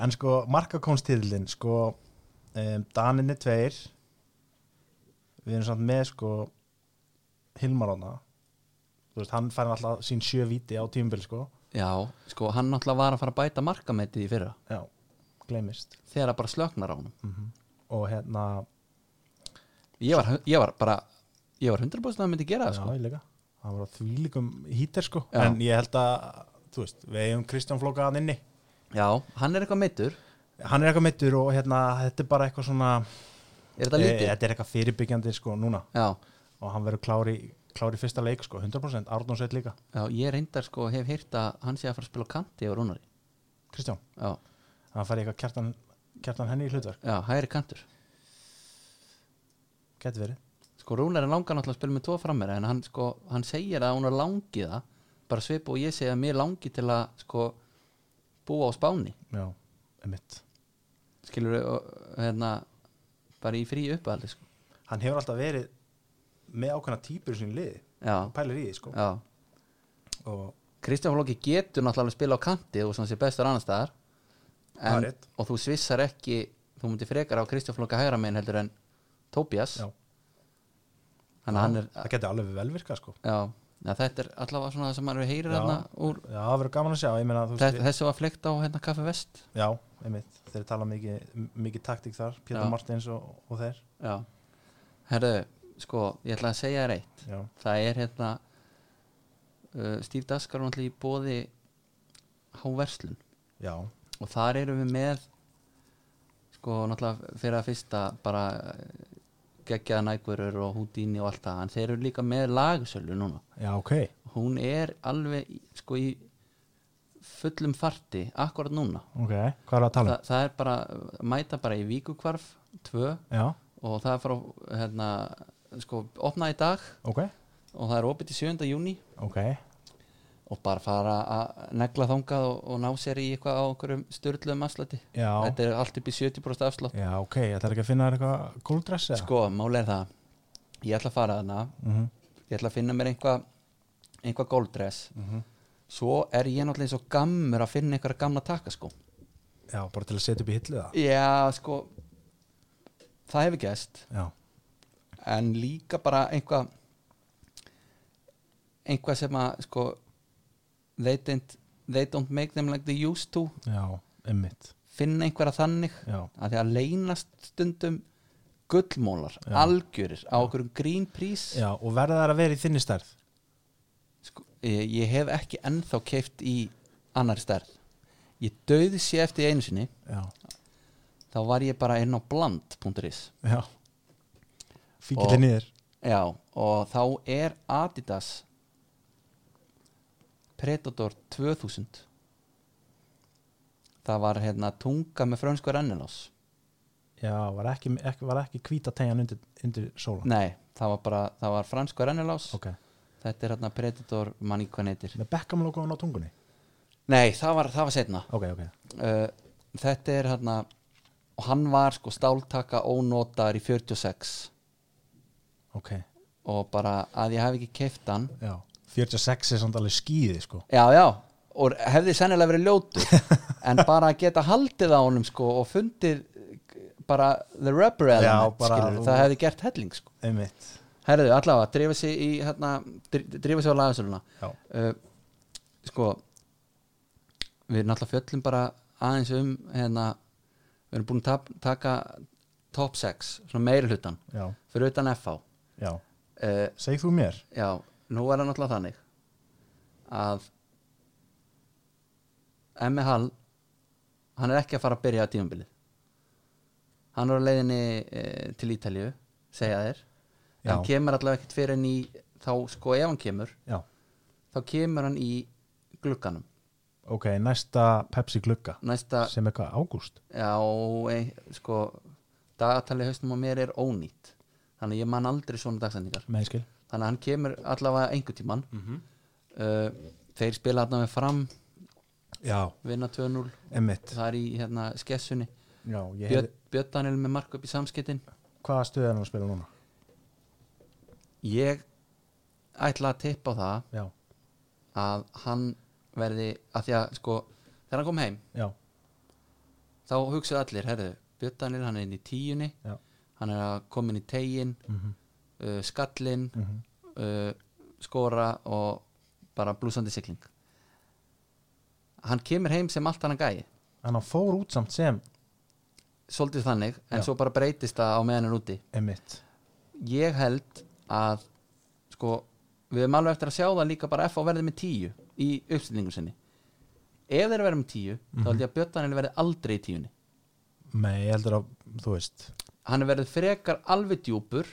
B: en sko markakomstitillin sko um, Daninni tveir við erum samt með sko Hilmaróna þú veist, hann fær alltaf sín sjö viti á tímubil sko,
A: já sko hann náttúrulega var að fara að bæta markametið í fyrra
B: já, gleymist
A: þegar það bara slöknar á hann
B: og hérna,
A: ég var, ég var bara ég var 100% að hann myndi gera það sko
B: já, ég líka hann var á þvílíkum hítir sko
A: Já.
B: en ég held að, þú veist, við eigum Kristján Flóka að inni,
A: já hann er eitthvað meittur
B: hann er eitthvað mittur og hérna, þetta er bara eitthvað svona
A: er þetta
B: eh,
A: lítið?
B: þetta er eitthvað fyrirbyggjandi sko núna
A: já
B: og hann verður klár í, klár í fyrsta leik sko, 100% Arnónsveit líka
A: Já, ég reyndar sko hef heyrt að hann sé að fara að spila á kanti á Rúnari
B: Kristján,
A: Já,
B: hann fær í eitthvað kjartan, kjartan henni í hlutverk,
A: já hægri kantur
B: geti verið
A: Sko Rúnari langar náttúrulega að spila með tvo frammera en hann sko, hann segir að hún er langið það bara svipa og ég segja að mér langi til að sko búa á Spáni
B: já, emitt
A: skilur við hérna bara í frí uppaldi sko
B: hann hefur alltaf verið með ákveðna típur í sín liði,
A: Já,
B: hann pælir í því sko
A: já
B: og
A: Kristján Flóki getur náttúrulega að spila á kanti og svona sé bestur annar staðar
B: Það er
A: en,
B: rétt.
A: og þú svissar ekki þú myndir frekar á Kristján Flóki hægra megin heldur en Tobias
B: Já.
A: þannig að hann er
B: það geti alveg vel virkað sko
A: Já, ja, þetta er allavega svona það sem maður heyrir
B: Já.
A: hérna úr
B: já, það verður gaman að sjá, ég meina þú
A: þess,
B: veist,
A: þessu var fleikt á hérna Kaffi Vest
B: við- já, emitt þeir tala mikið, mikið taktík þar Pétur
A: Já.
B: Martins og, og þeir
A: Já Herðu, sko, ég ætla að segja þér eitt
B: já,
A: Það er hérna uh, Steve Daskar var náttúrulega í bóði Háverslun
B: já,
A: og þar erum við með sko, náttúrulega fyrir að fyrsta bara eh, geggjaða nægverur og húdíni og allt það en þeir eru líka með lagsölu núna
B: já, ok
A: hún er alveg í- sko í fullum farti akkurat núna
B: ok, hvað er að tala
A: Þa,
B: um?
A: það er bara, mæta bara í víkukvarf 2
B: Já,
A: og það er frá hérna, sko, opna í dag
B: ok,
A: og það er opið til 7. júni
B: ok
A: og bara fara að negla þangað og, og ná sér í eitthvað á einhverjum styrluðum afslætti
B: Já,
A: þetta er allt upp í 70% afslátt
B: já ok, þetta er ekki að finna þér eitthvað kóldress eða?
A: sko, máli er það ég ætla að fara þarna
B: Mhm,
A: ég ætla að finna mér einhvað einhvað golddress
B: mhm.
A: svo er ég náttúrulega eins og gammur að finna einhverja gamla sko. takkaskó
B: Já, bara til að setja upp í hillu það
A: já, sko það hefur gæst
B: Já,
A: en líka bara einhvað einhvað sem að sko they don't, they don't make them like they used to
B: já, emmitt
A: finna einhverja þannig
B: Já,
A: að því að leynast stundum gullmólar,
B: Já.
A: algjörir á okkurum grínprís
B: já, og verða þær að vera í þinni stærð
A: sko, ég, ég hef ekki ennþá keift í annari stærð ég döði sé eftir einu sinni
B: Já,
A: þá var ég bara inn á bland.is
B: já Fíkilir
A: Og-
B: niður
A: já, og þá er Adidas Predator 2000 það var hérna tunga með frönsku rennilás
B: Já, var ekki, ekki, var ekki hvíta tegjan undir, undir sólan
A: nei, það var bara það var fransku rennilás
B: Ok,
A: þetta er hérna Predator manni hvað neytir
B: með Beckham logoðan á tungunni
A: nei, það var, það var setna
B: Ok, ok,
A: uh, þetta er hérna og hann var sko stáltaka ónotaður í 46
B: ok
A: og bara að ég hef ekki keift hann
B: Já, 46 er samt alveg skýði sko
A: já já og hefði sennilega verið ljótur en bara að geta haldið á honum sko og fundið eh, bara the rubber
B: Já,
A: element
B: bara-
A: skilur, það hefði gert helling sko
B: Emmitt
A: herðu allavega, drífa sig í hérna, dr- drífa sig á lagasöluna
B: Já,
A: uh, sko við náttúrulega fjöllum bara aðeins um hérna, við erum búin að tap- taka top 6, svona meiri hlutan
B: já,
A: fyrir utan FH
B: já
A: uh,
B: Segð þú mér
A: já, nú er það náttúrulega þannig að Emmi Hall hann er ekki að fara að byrja á tímabilið hann er á leiðinni uh, til Ítalíu segja þér,
B: Já.
A: hann kemur allavega ekkert fyrir en í þá sko ef hann kemur
B: Já,
A: þá kemur hann í glugganum
B: ok, næsta Pepsi glugga
A: næsta,
B: sem er hvað, ágúst
A: já, ein, sko dagatali haustum á mér er ónýtt þannig að ég man aldrei svona dagsendingar
B: meðskil
A: þannig að hann kemur allavega einhver tíman mm
B: Mhm.
A: þeir spila hann með fram
B: Já,
A: vinna 2-0,
B: emmitt
A: það er í hérna, skessunni,
B: Já, ég
A: Björn,
B: hef,
A: Björn Daniel með mark upp í samskiptin
B: hvaða stuð er hann að spila núna?
A: ég ætla að tippa á það
B: Já,
A: að hann verði, að því að sko þegar hann kom heim,
B: já,
A: þá hugsaðu allir, herðu Björn Daniel hann er inn í tíunni
B: já
A: hann er að koma inn í tegin
B: mm -hmm.
A: uh, skallin
B: Mhm.
A: uh, skora og bara blúsandi sigling hann kemur heim sem allt hann gæi
B: En hann fór út samt sem
A: svolítið þannig, en
B: Já.
A: svo bara breytist það á meðan hann er úti
B: Emmitt
A: ég held að sko, við erum alveg eftir að sjá það líka bara F á verði með tíu í uppstillingu sinni ef þeir verði með tíu, þá held ég að Björnarnil verði aldrei í tíunni
B: Nei, ég heldur að, þú veist
A: hann er verið frekar alveg djúpur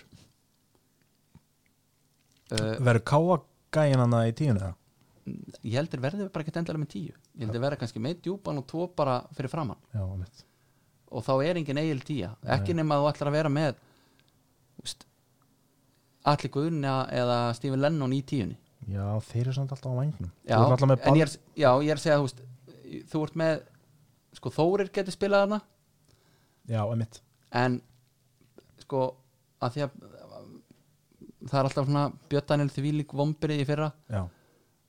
A: uh,
B: Verður káa gæin hann í tíun eða?
A: ég heldur verði bara ekki endalega með tíu ég heldur verði kannski með djúpan og tvo bara fyrir framann
B: Já, emmitt
A: og þá er engin eigil tíja ekki nema að þú ætlar að vera með úst, allir guðna eða Stephen Lennon í tíunni
B: Já, þeir eru samt alltaf á vangnum
A: já,
B: Þú er alltaf
A: en
B: með ball
A: ég er, já, ég er að segja úst, þú ert með sko Þórir getur spilað hana
B: Já, emmitt
A: en sko að því að það er alltaf svona Björn Daniel því lík vombrið í fyrra
B: Já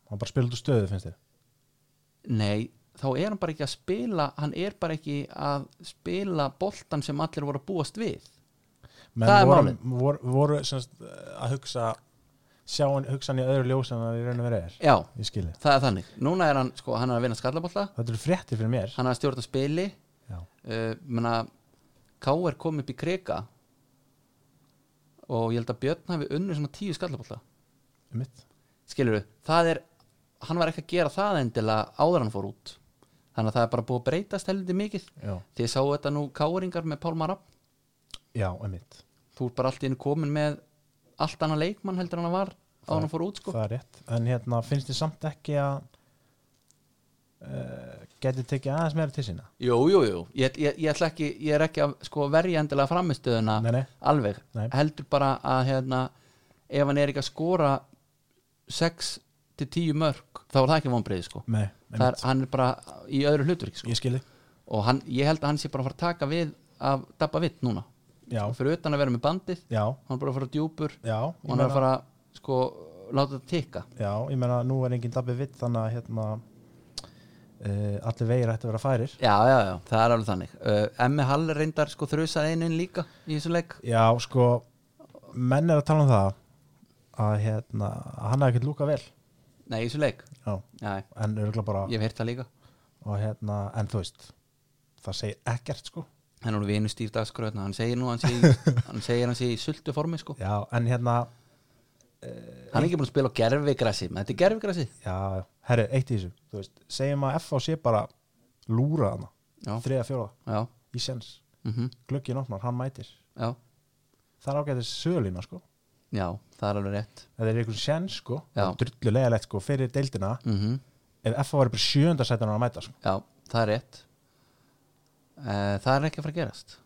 B: Hann bara spila út úr stöðu, finnst þér
A: nei, þá er hann bara ekki að spila hann er bara ekki að spila boltan sem allir voru að búast við
B: Menn
A: Það er
B: voru, voru, voru semst, að hugsa sjá hann, hugsa hann í öðru ljós en það í raun og verið er
A: já,
B: Ég skil þig.
A: það er þannig núna er hann, sko, hann er að vinna skallabolla
B: Þetta eru fréttir fyrir mér
A: hann er að stjórna spili
B: Já,
A: uh, menna, K.R. kom upp í kreika og ég held að Björn hafi unnið svona tíu skallabolla
B: emmitt
A: skilur við, það er hann var ekki að gera það endilega áður en hann fór út þannig að það er bara búið að breytast heldur mikið
B: Já,
A: því ég sá þetta nú K.R.ingar með Pálmar Rapp
B: já emmitt
A: þú ert bara allt í henni komin með allt annað leikmann heldur en hann var áður en hann fór út sko
B: það er rétt en hérna finnst þið samt ekki að e, getur tekið aðeins meira til sína
A: Jú, jú, jú, ég, ég, ég, ætla ekki, ég er ekki að sko, verja endilega framistöðuna
B: Nei, nei.
A: alveg,
B: Nei.
A: heldur bara að hérna, ef hann er ekki að skora 6 til 10 mörg þá er það ekki vonbreið sko.
B: Nei,
A: það er, hann er bara í öðru hlutverk sko.
B: ég skilði
A: og hann, ég held að hann sé bara að fara að taka við af Dabba Vitt núna
B: Já,
A: og fyrir utan að vera með bandið
B: já,
A: hann er bara að fara djúpur
B: já
A: og hann er að fara sko, láta þetta tikka
B: Já, ég meina nú er enginn dabbi vitt þannig að hérna uh, allir vegir ætti að vera færir
A: já, já, já, það er alveg þannig uh, Emmi Hall reyndar sko þrjusað einu inn líka í þessu leik
B: Já, sko menn er að tala um það að hérna, að hann hafði ekkert lúka vel
A: nei, í þessu leik,
B: Já,
A: já,
B: en örgulega bara
A: ég hef heyrt það líka
B: og hérna, en þú veist það segir ekkert sko
A: hann er nú vinur Steve Dagskröð hann segir nú, hann segir hann segir hann sé í sultu formi sko
B: Já, en hérna,
A: hann er ekki búin að spila á gerfigrassi menn þetta er gerfigrassi
B: já, herri, eitt í þessu þú veist, segjum að F.A. sé bara lúra hana,
A: Já.
B: þriða, fjóra
A: já,
B: í sens,
A: mhm,
B: glöggin opnar, hann mætir
A: já,
B: það er ágætið sölina sko
A: já, það er alveg rétt
B: það er einhvern sens sko,
A: Já.
B: drullulegilegt sko fyrir deildina,
A: mhm,
B: ef F.A. var bara sjönda sætan hann að mæta sko,
A: já, það er rétt uh, það er ekki að fara að gerast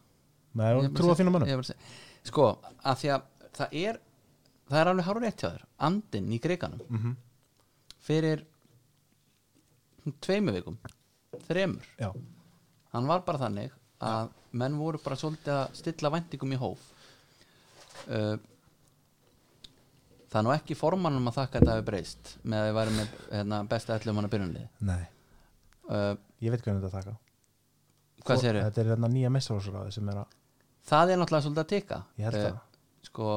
B: með
A: Ég bara
B: trúa
A: seg-
B: þínum mönnum
A: ég bara seg- sko, að því að það er það er alveg hárur rétt hjá þér andinn í greikanum
B: Mhm.
A: fyrir tveimu vikum, þremur
B: já,
A: hann var bara þannig að menn voru bara svolítið að stilla væntingum í hóf uh, það er nú ekki formannum að þakka að þetta hafi breyst með að við værum með hérna, besta ætlum hann að byrjunlið
B: nei,
A: uh,
B: ég veit hvernig þetta taka Sko,
A: hvað sér
B: þetta er þarna nýja mestarhúsráði sem er að
A: það er náttúrulega svolítið að teka
B: Ég held það.
A: sko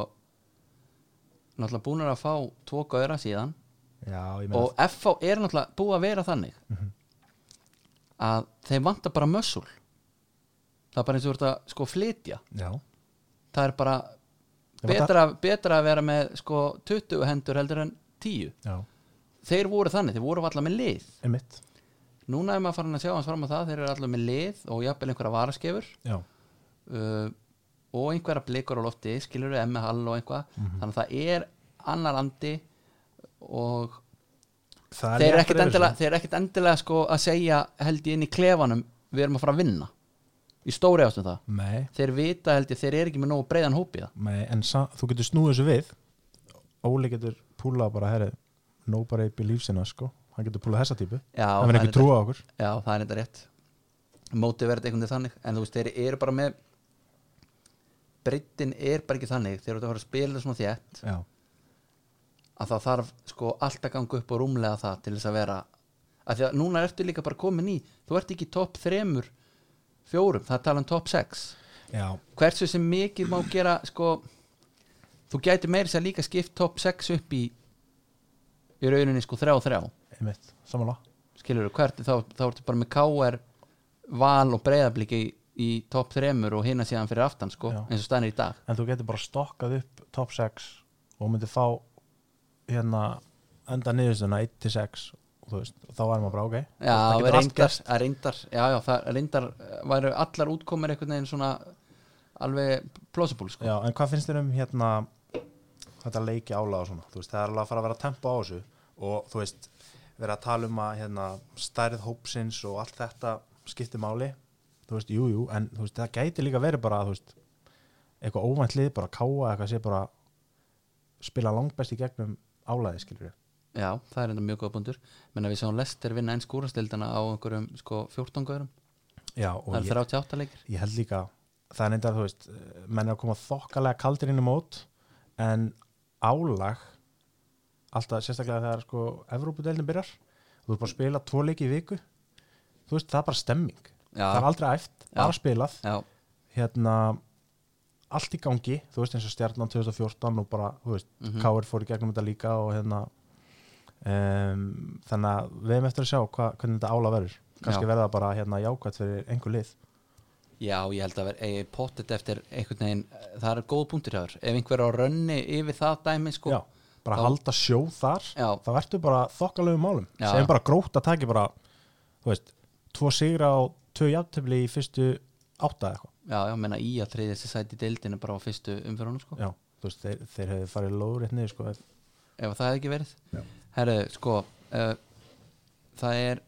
A: náttúrulega búin að fá tvo gauðra síðan
B: já, ég meina, Mhm.
A: og FH er náttúrulega búið að vera þannig að þeim vantar bara mössul það er bara eins og þú ert að sko flytja
B: já,
A: það er bara
B: Þeim
A: betra, betra að vera með sko 20 hendur heldur en 10
B: já,
A: þeir voru þannig, þeir voru allar með lið
B: einmitt
A: núna er maður farin að sjá hans fram á það þeir eru allar með lið og jafnvel einhverja varaskefur
B: já,
A: uh, og einhverja blikur á lofti skilur við emmi hall og einhvað
B: Mhm.
A: þannig að það er annar andi og
B: það
A: þeir eru
B: léttir
A: ekkert
B: yfir
A: endilega,
B: þessu.
A: þeir eru ekkert endilega sko að segja held ég inn í klefanum við erum að fara að vinna í stóri ástum það
B: nei,
A: þeir vita held ég, þeir eru ekki með nógu breiðan hópið
B: Nei, en sa- þú getur snúið þessu við Óli getur púlað bara herri, nobody believes in us sko hann getur púlað þessa típu
A: Já,
B: hann verður
A: það
B: ekki
A: er
B: trúa á okkur
A: já, það er þetta rétt mótið verður einhvern veginn þannig en þú veist, þeir eru bara með breiddin er bara ekki þannig þeir eru að fara að spila svona þétt
B: já,
A: að það þarf sko allt að ganga upp og rúmlega það til þess að vera að því að núna ertu líka bara komin í þú ert ekki í topp þremur fjórum, það er talað um topp 6
B: já,
A: hversu sem mikið má gera sko, þú gæti meira sér líka skipt topp 6 upp í í rauninni sko 3 og 3
B: einmitt, samanlá
A: skilur þú, hvert þá, þá ertu bara með KR val og breyðabliki í, í topp 3 og hinna síðan fyrir aftan sko,
B: Já.
A: eins og stannir í dag
B: en þú getur bara stokkað upp top 6 og myndir fá hérna enda niðurstuna 1-6 og þú veist, og þá er maður bara ok
A: Já,
B: það
A: það
B: getur allt
A: reyndar,
B: gerst
A: að reyndar, já, já, það reyndar eh, væru allar útkomir einhvern veginn svona alveg plausible sko.
B: já, en hvað finnst þér um hérna þetta leiki álag og svona þú veist, það er alveg að fara að vera tempo á þessu og þú veist, vera að tala um að hérna, stærð hópsins og allt þetta skiptir máli þú veist, jú, jú, en þú veist, það gæti líka verið bara þú veist, eitthvað óvænt lið bara káa, eitthvað sé bara spila langbest í gegnum álæði skilur við,
A: já, það er reyndar mjög góða búndur menn að við sjáum Lester vinna eins skúrastildana á einhverjum sko 14 gaurum
B: já, og
A: það er
B: ég,
A: 38 leikir
B: ég held líka það er neyndar, þú veist, eh, menn er að koma þokkalega kaldir inn í mót en álag alltaf sérstaklega þegar sko Evrópudeldin byrjar, þú ert bara að spila tvo leiki í viku, þú veist, það er bara stemming
A: Já.
B: það er aldrei æft, bara spilað
A: já,
B: hérna allt í gangi, þú veist eins og stjarnan 2014 og bara, þú veist,
A: Mhm.
B: mm KR fór í gegnum þetta líka og hérna um, þannig að við hefum eftir að sjá hva, hvernig þetta ála verður, kannski
A: Já.
B: verða bara hérna jákvæmt fyrir einhver lið
A: já, ég held að vera eigi pottet eftir einhvern veginn, eh, það er góð búndur hjá þér ef einhver á rönni yfir það dæmi sko,
B: já, bara
A: þá-
B: halda sjó þar
A: Já.
B: þá ertu bara þokkalegu málum
A: Já.
B: sem bara gróta taki bara þú veist, tvo sigra og tvö jafntöfli í fyrstu átta eða eitthvað
A: já, já, menna í að þriðja sér sæti í deildinu bara á fyrstu umfyrunum sko
B: já, þú veist, þeir, þeir hefðu farið lóðrétt niður sko, ef-
A: ef það hefði ekki verið Herru, sko uh, það eh, er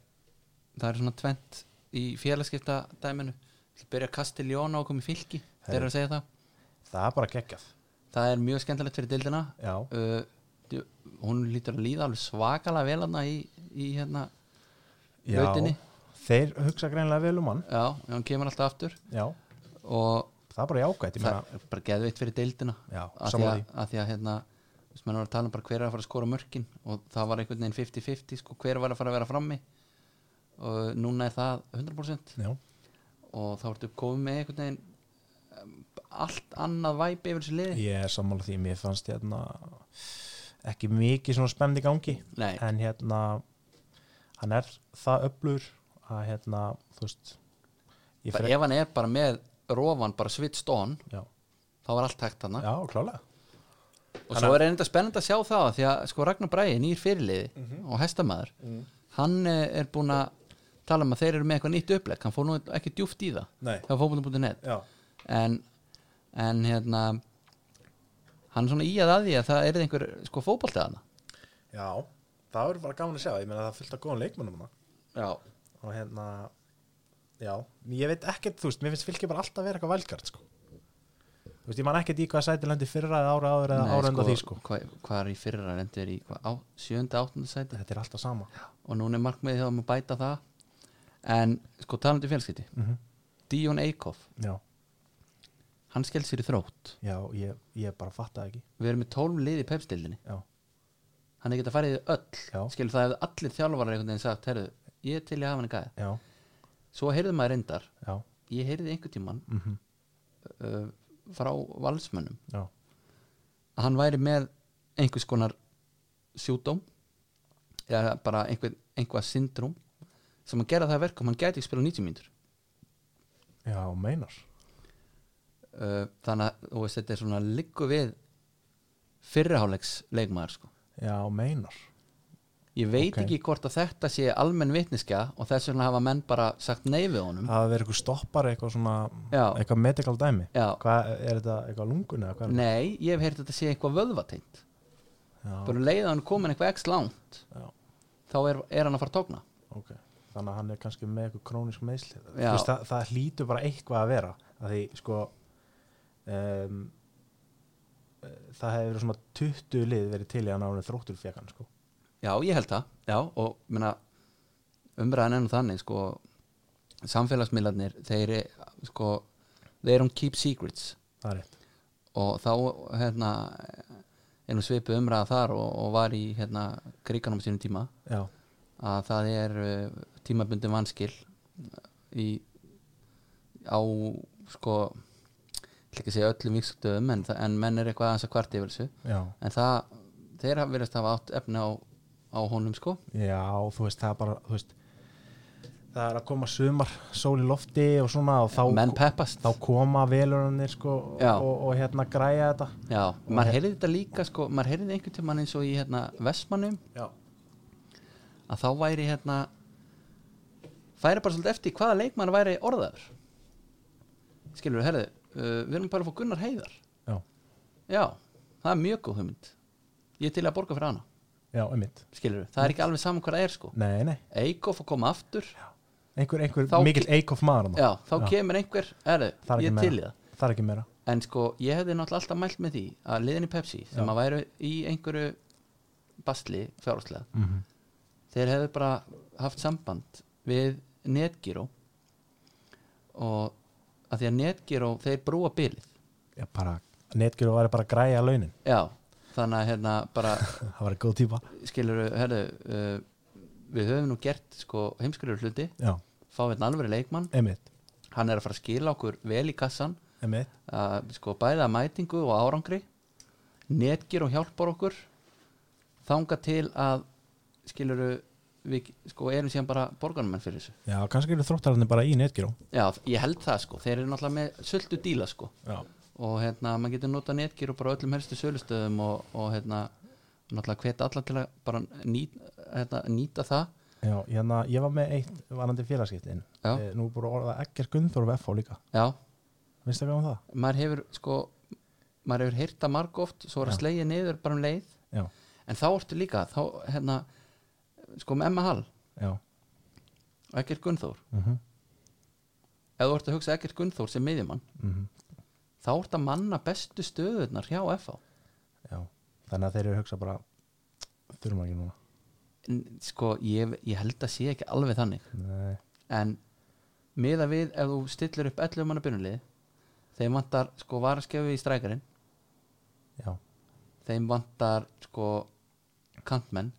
A: það er svona tvent í félagskipta dæminu Ég byrja að kasta ljóna og koma í fylki þeir eru að segja það
B: það er bara geggjað
A: það er mjög skemmtilegt fyrir dildina
B: já,
A: uh, djú- hún lítur að líða alveg svakalega vel hann í, í hérna
B: já.
A: Lautinni.
B: þeir hugsa greinlega vel um hann
A: já, hún kemur alltaf aftur
B: já,
A: og
B: það er bara jákvætt ég meina,
A: það er bara geðveitt fyrir deildina
B: Já,
A: að því
B: sammála
A: að, að, því að hérna þú veist, menn var að tala um bara hver er að fara að skora mörkin og það var einhvern veginn 50-50 sko, hver var að fara að vera frammi og núna er það 100%
B: já,
A: og þá ertu komið með einhvern veginn um, allt annað væpi yfir þessu liði
B: ég er sammála því mér fannst hérna ekki mikið svona spennt í gangi
A: Nei,
B: en hérna hann er það öflur að hérna, þú veist ég
A: bara, ef hann er bara með rofan bara svitst on,
B: já,
A: þá var allt hægt hann
B: já, klálega
A: og svo er enda spennend að sjá það því að sko Ragnar Bræði, nýr fyrirliði
B: Mhm.
A: og hestamaður, hann eh, er búin að tala um að þeir eru með eitthvað nýtt uppleg hann fór nú ekki djúft í það
B: Nei.
A: hjá fókbúndum.net
B: já,
A: en, en hérna hann er svona í að að því að það er einhver sko fókbóltaðana
B: já, það verður bara gaman að sjá ég meina það er fullt af góðan leikmennum hana
A: Já,
B: og hérna já, ég veit ekkert, þú veist, mér finnst fylgir bara alltaf vera eitthvað vælgart sko. þú veist, ég man ekkert í hvað sæti lendi fyrra eða ára áður eða ára enda því sko.
A: hvað, hvað er í fyrra rendur í hvað, á, sjönda, áttunda sæti
B: þetta er alltaf sama
A: og núna er markmiðið hjá um að bæta það en sko talandi fjölskytti mm
B: Mhm.
A: Díon Eikhoff,
B: já,
A: hann skeld sér í þrótt
B: já, ég, ég bara fatt það ekki
A: við erum með 12 lið í pepstildinni
B: já,
A: hann er ekki að fara í þau öll
B: Já.
A: skilur það hefði allir þjálfarar einhvern veginn sagt herðu, ég er til ég hafa hann gæða
B: já,
A: svo heyrðu maður reyndar,
B: já,
A: ég heyrði einhvern tímann
B: mm
A: uh, frá valsmönnum
B: já,
A: að hann væri með einhvers konar sjúdóm eða bara einhver, einhver syndrúm sem að gera það að verkum, hann gæti ekki spila 90 mínútur
B: já, meinar
A: uh, þannig að þú veist, þetta er svona liggu við fyrriháleiks leikmaður sko.
B: já, meinar
A: ég veit
B: Ok.
A: ekki hvort að þetta sé almenn vitniska og þess vegna hafa menn bara sagt nei við honum
B: að vera eitthvað stoppar eitthvað svona
A: Mm. Já.
B: eitthvað medical dæmi
A: Já.
B: hvað er þetta eitthvað lungun eða hvað er
A: Nei, ég hef heyrt að þetta sé eitthvað vöðvatengt
B: þetta
A: Bara um leið að hann komin eitthvað x langt
B: Já.
A: Þá er, er hann að fara að tókna
B: ok þannig að hann er kannski með eitthvað krónisk meðsli
A: Já.
B: veist, það, það hlýtur bara eitthvað að vera að því sko um, eh, það hefur verið svona 20 lið verið til í hann árið þróttur fekan sko
A: Já, ég held það, já Og minna, umræðan enn og þannig sko, Samfélagsmiðlarnir Þeir, er- sko, þeir um keep secrets
B: það er rétt
A: Og þá, hérna Erum svipu umræða þar og, og var í hérna, kriganum sínum tíma
B: já,
A: að það er uh, tímabundin vanskil eh, í á sko ég ætla ekki að segja öllum vikstöðum en, það- en menn er eitthvað aðeins að kvart yfir þessu
B: já,
A: en það, þeir hafa verið að hafa átt efni á, á honum sko
B: já, þú veist það er bara, þú veist það er að koma sumar, sól í lofti og svona og þá,
A: menn peppast
B: þá koma velurannir sko
A: Já.
B: og, og hérna græja þetta
A: já, maður heyrði þetta líka sko maður heyrði einhvern tímann eins og í hérna Vestmannum
B: já,
A: að þá væri hérna færi bara svolítið eftir hvaða leikmann væri orðaður skilur við, herðu uh, við erum bara að fá Gunnar Heiðar
B: já,
A: Já, það er mjög góð hugmynd Ég er til að borga fyrir hana,
B: já, einmitt
A: skilur við Það er ekki alveg saman hvað það er sko
B: nei, nei,
A: Eikof að koma aftur Já,
B: einhver, einhver
A: Þá-
B: mikill eikof maður þarna.
A: þá kemur einhver, erðu,
B: Það er
A: ég
B: ekki
A: er til í
B: meira.
A: það
B: það er ekki meira
A: En sko, ég hefði náttúrulega alltaf mælt með því að liðin í Pepsi sem
B: Já.
A: að væru í einhverju basli fjárháslega
B: mm -hmm.
A: Þeir hefðu bara haft samband við Netgyro og að því að Netgyro, þeir brúa bilið
B: Já, bara, netgjöru var bara að græja launin
A: Já, þannig að hérna bara
B: það var góð típa
A: skilur, herðu uh, við höfum nú gert sko heimskulur hluti
B: já,
A: fá hérna alveg leikmann
B: emitt,
A: hann er að fara að skila okkur vel í kassan
B: emitt
A: uh, sko bæða mætingu og árangri netgir og hjálpar okkur þanga til að skilur við sko erum síðan bara borganumenn fyrir þessu
B: já, kannski eru þróttararnir bara í netgjöru
A: já, ég held það sko, þeir eru náttúrulega með sultu díla sko
B: já,
A: og hérna, maður getur notað netgir og bara öllum helstu sölustöðum og, og hérna náttúrulega hveta alla til að bara nýt, hérna, nýta það
B: já hérna, ég var með eitt varandi félagskiptin
A: Já.
B: e, nú er búin að orða ekkert Gunnþór og FH líka
A: já,
B: finnst það gaman það?
A: maður hefur sko maður hefur heyrta marg oft svo er að
B: Já.
A: slegja niður bara um leið
B: já,
A: en þá ertu líka þá hérna sko með Emma Hall
B: já,
A: Ekkert Gunnþór
B: mm -hmm.
A: ef þú ert að hugsa Ekkert Gunnþór sem miðjumann
B: Mm -hmm.
A: þá ert að manna bestu stöðunar hjá FH
B: Já, þannig að þeir eru að hugsa bara þurfum ekki núna
A: En, sko, ég, ég held að sé ekki alveg þannig
B: Nei,
A: en miða við ef þú stillir upp 11 manna byrjunlið þeim vantar sko varaskefi í strækarinn
B: já,
A: þeim vantar sko kantmenn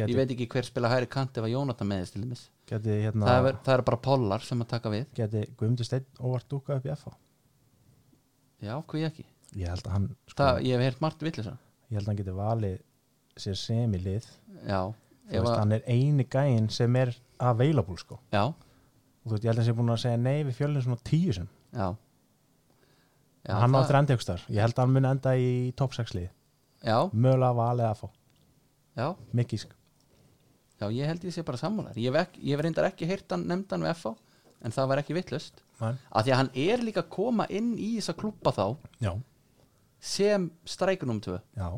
A: ég
B: geti,
A: veit ekki hver spila hæri kant ef að Jónatan meðist til þeimis
B: geti hérna
A: það, er- það er bara pollar sem að taka við
B: geti Guðmundur Steinn óvart dúka upp í FH
A: já, hví ekki
B: ég held að hann sko,
A: það, ég hef heyrt margt villisa
B: ég held að hann geti valið sér sem í lið
A: já,
B: Þú
A: ef
B: veist,
A: að,
B: hann er eini gæinn sem er available sko
A: já,
B: og þú veist, ég held að hann sé búin að segja nei við fjölinn svona tíu sem
A: já. já
B: hann
A: það-
B: áttur enda ykkur starf, ég held að hann muni enda í top 6 lið,
A: já,
B: mögulega valið að fá
A: já,
B: mikið sko,
A: já, ég held ég sé bara sammálar ég hef, ekki, ég hef reyndar ekki heyrt hann nefndan við FH en það var ekki vittlust
B: Nei.
A: að því að hann er líka að koma inn í þessa klúpa þá
B: já,
A: sem strækunum tvö
B: já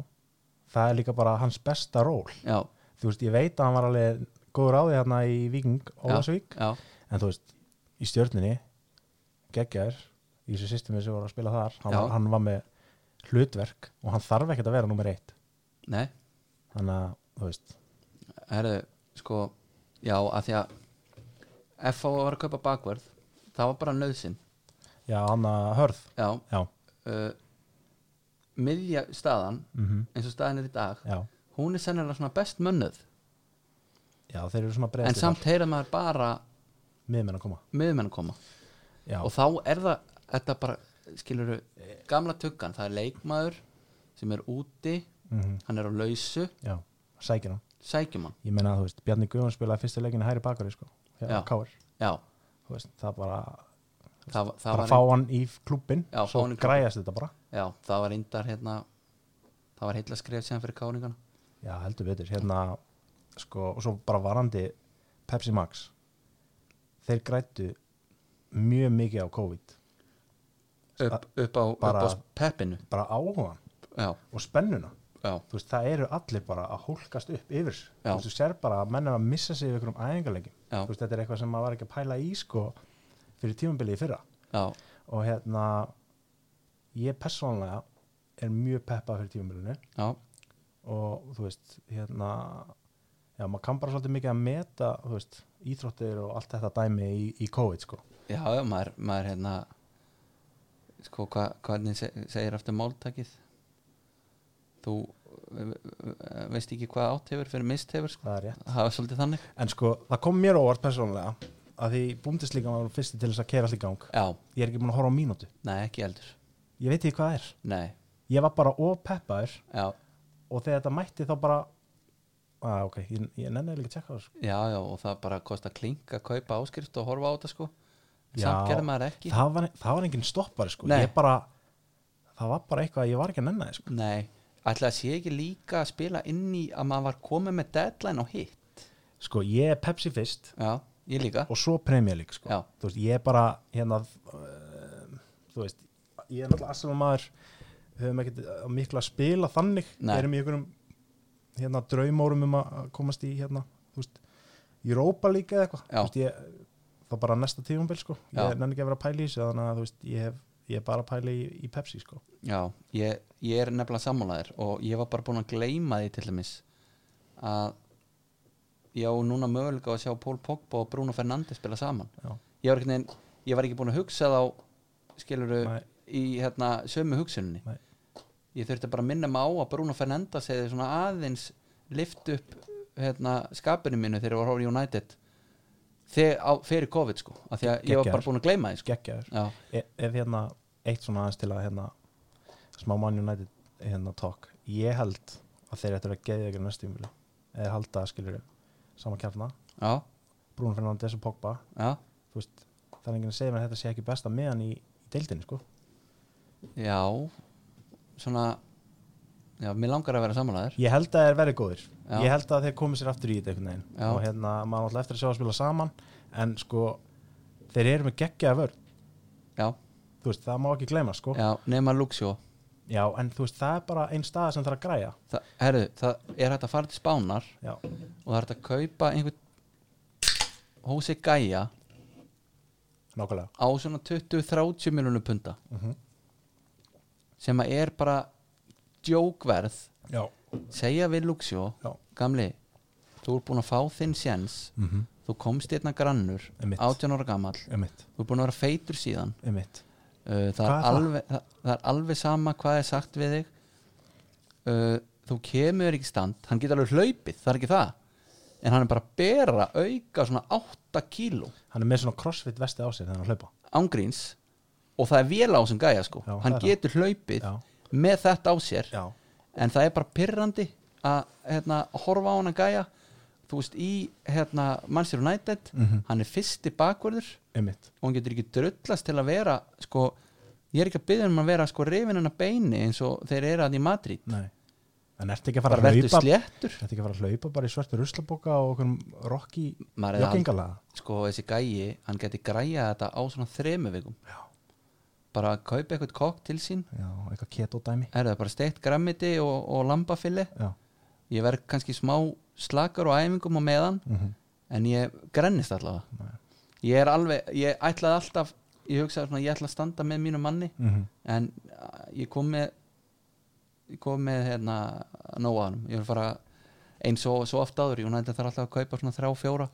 B: það er líka bara hans besta ról
A: já,
B: þú veist, ég veit að hann var alveg góður á því hérna í Viking, Ólasvík
A: já,
B: en þú veist, í stjörninni geggjar, í þessu systemi sem voru að spila þar, hann,
A: Já.
B: var- hann var með hlutverk og hann þarf ekkert að vera nummer eitt,
A: nei,
B: þannig að þú veist,
A: herðu sko, já, að því að FH var að kaupa bakverð það var bara nöðsinn
B: já, hann að hörð
A: já,
B: já,
A: uh, miðja staðan
B: mm
A: eins og staðan er í dag
B: já,
A: hún er sennilega svona best mönnuð
B: já, þeir eru svona
A: en
B: breyðstir
A: samt heyrað maður bara
B: miðmenn að koma
A: miðumenn koma
B: já,
A: og þá er það, þetta bara skilur gamla tuggan, það er leikmaður sem er úti,
B: mm
A: hann er á lausu
B: já, sækir hann
A: sækjum hann,
B: ég meina að þú veist, Bjarni Guðun spilaði fyrstu leikinu hæri bakari sko,
A: Já.
B: já, káir
A: já
B: þú veist, það bara,
A: það, var- það
B: bara
A: var
B: fá hann í klubbin
A: Já, fá
B: svo
A: hann í klúbbinn.
B: græjast þetta bara
A: Já, það var reyndar hérna það var heilla skref sem fyrir káningana
B: Já, heldur betur hérna, sko, og svo bara varandi Pepsi Max þeir grættu mjög mikið á COVID
A: upp, upp, á,
B: bara-
A: upp á peppinu
B: bara áhugan
A: Já,
B: og spennuna
A: já,
B: þú veist, það eru allir bara að hólkast upp yfir þessu.
A: Já.
B: þú veist, þú sér bara að menn er að missa sig við ykkur um æfingarleikin
A: Já.
B: þú veist, þetta er eitthvað sem maður var ekki að pæla í sko fyrir tímabilið í fyrra
A: já,
B: og hérna ég persónlega er mjög peppað fyrir tímabilinu
A: já
B: og þú veist hérna já, maður kann bara svolítið mikið að meta þú veist, íþróttir og allt þetta dæmi í, í COVID sko
A: Já, já, maður, maður hérna sko, hva, hvernig se, segir aftur máltakið þú eh, eh, veist ekki hvað átt hefur fyrir mist hefur sko.
B: það er rétt,
A: það var svolítið þannig
B: en sko það kom mér á óvart persónulega að því búndisleika var fyrsti til þess að kera allt í gang
A: Já,
B: ég er ekki búin að horfa á mínútu,
A: nei, ekki eldur
B: ég veit ekki hvað það er
A: Nei,
B: ég var bara ópeppaður
A: já,
B: og þegar þetta mætti þá bara að ok, ég, ég nenni líka að tjekka það sko.
A: já, já og það bara kostar klink að kaupa áskrift og horfa á þetta sko
B: Já.
A: samt gerði maður ekki
B: það var, það var engin stoppari sko
A: Nei.
B: ég bara, það var bara eitthvað að ég var ekki að nenni það sko.
A: Nei, ætla að sé ekki líka að spila inn í að maður var komið með deadline á hitt
B: sko, ég er Pepsi fyrst
A: Já, ég líka
B: og svo Premier League sko.
A: Já.
B: þú veist, ég er bara hérna uh, þú veist, ég er náttúrulega Arsenal maður höfum ekkert uh, miklu að spila þannig,
A: Nei.
B: erum í einhverjum hérna draumórum um að komast í hérna, þú veist, Europa League eða eitthvað,
A: Já.
B: þú veist, ég þá bara næsta tífumbil sko,
A: Já.
B: ég nenni ekki að vera að pæla í þessu þannig að þú veist, ég hef ég er bara að pæla í, í Pepsi sko
A: Já, ég, ég er nefnilega sammálaðir og ég var bara búin að gleyma því til dæmis að ég á núna möguleika á að sjá Pól Pogba og Bruno Fernandes spila saman
B: Já.
A: ég var, veginn, ég var ekki búin að hugsa þá skiluru
B: Nei.
A: í hérna, sömu hugsuninni
B: Nei.
A: ég þurfti bara að minna mig á að Bruno Fernandes hefði svona aðeins lift upp hérna, skapinu mínu þegar ég var hóra United þegar, á, fyrir COVID sko af því að ég var
B: Geggjaður.
A: bara búin að gleyma því sko.
B: geggjaður,
A: Já,
B: e ef hérna eitt svona aðeins til að hérna smá Man United hérna talk ég held að þeir ættu að geða ykkur næstu umvili eða halda skilur saman kjafna,
A: já,
B: Bruno Fernandes og Pogba
A: já,
B: þú veist, það er enginn að segja mér að þetta sé ekki besta meðan í, í deildinni sko
A: já svona já, mér langar að vera samanlæður
B: ég held að þeir verði góðir,
A: Já.
B: ég held að þeir komi sér aftur í þetta einhvern veginn
A: Já.
B: og hérna maður alltaf eftir að sjá að spila saman en sko, þeir eru með geggjaða vörn
A: já,
B: þú veist, það má ekki gleyma sko
A: já, nema Luxjó
B: Já, en þú veist, það er bara einn stað sem þarf að græja
A: Þa, herru, það er hægt að fara til spánar
B: Já,
A: og það er hægt að kaupa einhvern Hósi Gæja
C: nákvæmlega
A: á svona 20-30 miljonum punta
C: Mhm.
A: sem að er bara djókverð
B: já,
A: segja við Luxjó
B: Já.
A: gamli, þú ert búin að fá þinn sjens
B: mm -hmm.
A: þú komst einna grannur
B: Einmitt.
A: 18 ára gamall,
B: emitt,
A: þú ert búin að vera feitur síðan
B: emitt
A: uh, það,
B: Hvað
A: er
B: er það?
A: alveg, það? það er alveg sama hvað er sagt við þig uh, þú kemur ekki í stand hann getur alveg hlaupið, það er ekki það en hann er bara að bera auka svona 8 kíló
B: hann er með svona crossfit vesti á sér þegar hann hlaupa
A: ángríns og það er vél á sem gæja sko
B: Já,
A: hann
B: það er
A: getur hlaupið
B: Já.
A: með þetta á sér
B: já,
A: en það er bara pyrrandi að hérna, horfa á hann að gæja þú veist í hérna, Manchester United
B: Mhm.
A: hann er fyrsti bakvörður
B: emitt,
A: og hann getur ekki drullast til að vera sko, ég er ekki að byggja um að vera sko rifin hennar beini eins og þeir eru að í Madrid
B: nei en ertu ekki að fara
A: bara
B: að
A: verður
B: hlaupa
A: sléttur
B: ertu ekki að fara að hlaupa bara í svörtu ruslaboka og okkur rocki
A: Maður er
B: joggingalaga
A: sko þessi gæi, hann geti græja þetta á svona þremu vikum
B: já,
A: bara að kaupa eitthvað kokk til sín
B: já, eitthvað keto dæmi
A: er það bara steikt grammiti og, og lambafili
B: já,
A: ég verð kannski smá slakar og æfingum á meðan
B: mm
A: en ég grennist allavega
B: Nei.
A: ég er alveg, ég ætlaði alltaf ég hugsaði svona, ég ætla að standa með mínu manni
B: Mhm,
A: en uh, ég kom með ég kom með hérna nóaðanum, ég vil fara eins og svo oft áður, ég hún ætla þarf alltaf að kaupa svona þrjá fjóra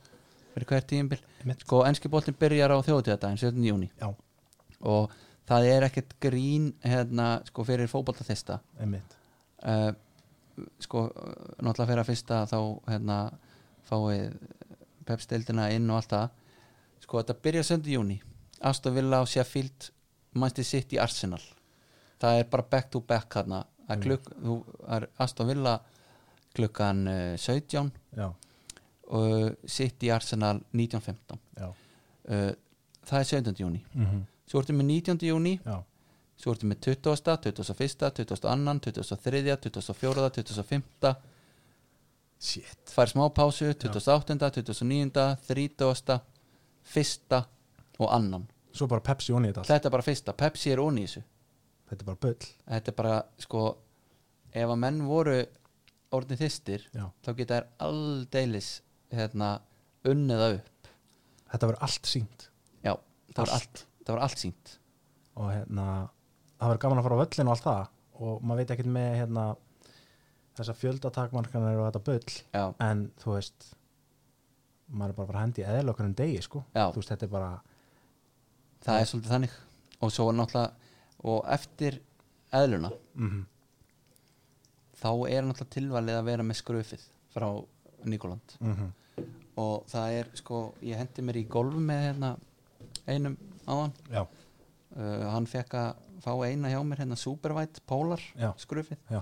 A: fyrir hver tíðinbil
B: Einmitt.
A: sko, enski boltin byrjar á þjóðtíðardaginn 17. júni
B: já,
A: og það er ekkert grín hérna, sko, fyrir fótboltathesta
B: emitt
A: uh, sko, uh, náttúrulega fyrir að fyrsta þá hérna fáið pepsteildina inn og allt það sko, þetta byrja 7. júni Aston Villa og Sheffield mannstu sitt í Arsenal það er bara back to back hérna að klukk, þú, það er Aston Villa klukkan uh, 17
B: já,
A: og sitt í Arsenal 19.15
B: já,
A: uh, það er 17. júni
B: mm
A: svo ertu með 19. júni
B: já
A: svo ertu með 20. 21. 22. 23. 24. 25.
B: shit,
A: fær smá pásu 28. 29. 30. fyrsta og annan
B: svo bara Pepsi onni í þetta allt.
A: þetta er bara fyrsta, Pepsi er onni í þessu
B: þetta er bara bull
A: þetta er bara sko ef að menn voru orðin þistir
B: já.
A: þá geta þær aldeilis hérna, unniða upp
B: þetta verður allt sínt
A: já, það var
B: Allt.
A: allt, það var allt sínt
B: og hérna, það verður gaman að fara á völlin og allt það og maður veit ekkert með hérna, þessa fjöldatakmarkanir og þetta bull
A: já,
B: en þú veist maður er bara að fara að hendi eðl okkur um degi sko.
A: Já.
B: þú veist, þetta er bara
A: það er svolítið þannig og svo náttúrulega og eftir eðluna
B: mm
A: þá er náttúrulega tilvalið að vera með skröfið frá Nikoland
B: mhm.
A: og það er sko, ég hendi mér í golf með hérna einum áðan
B: já,
A: uh, hann fekk að fá eina hjá mér hérna Supervite Polar
B: Já.
A: skrufið
B: já,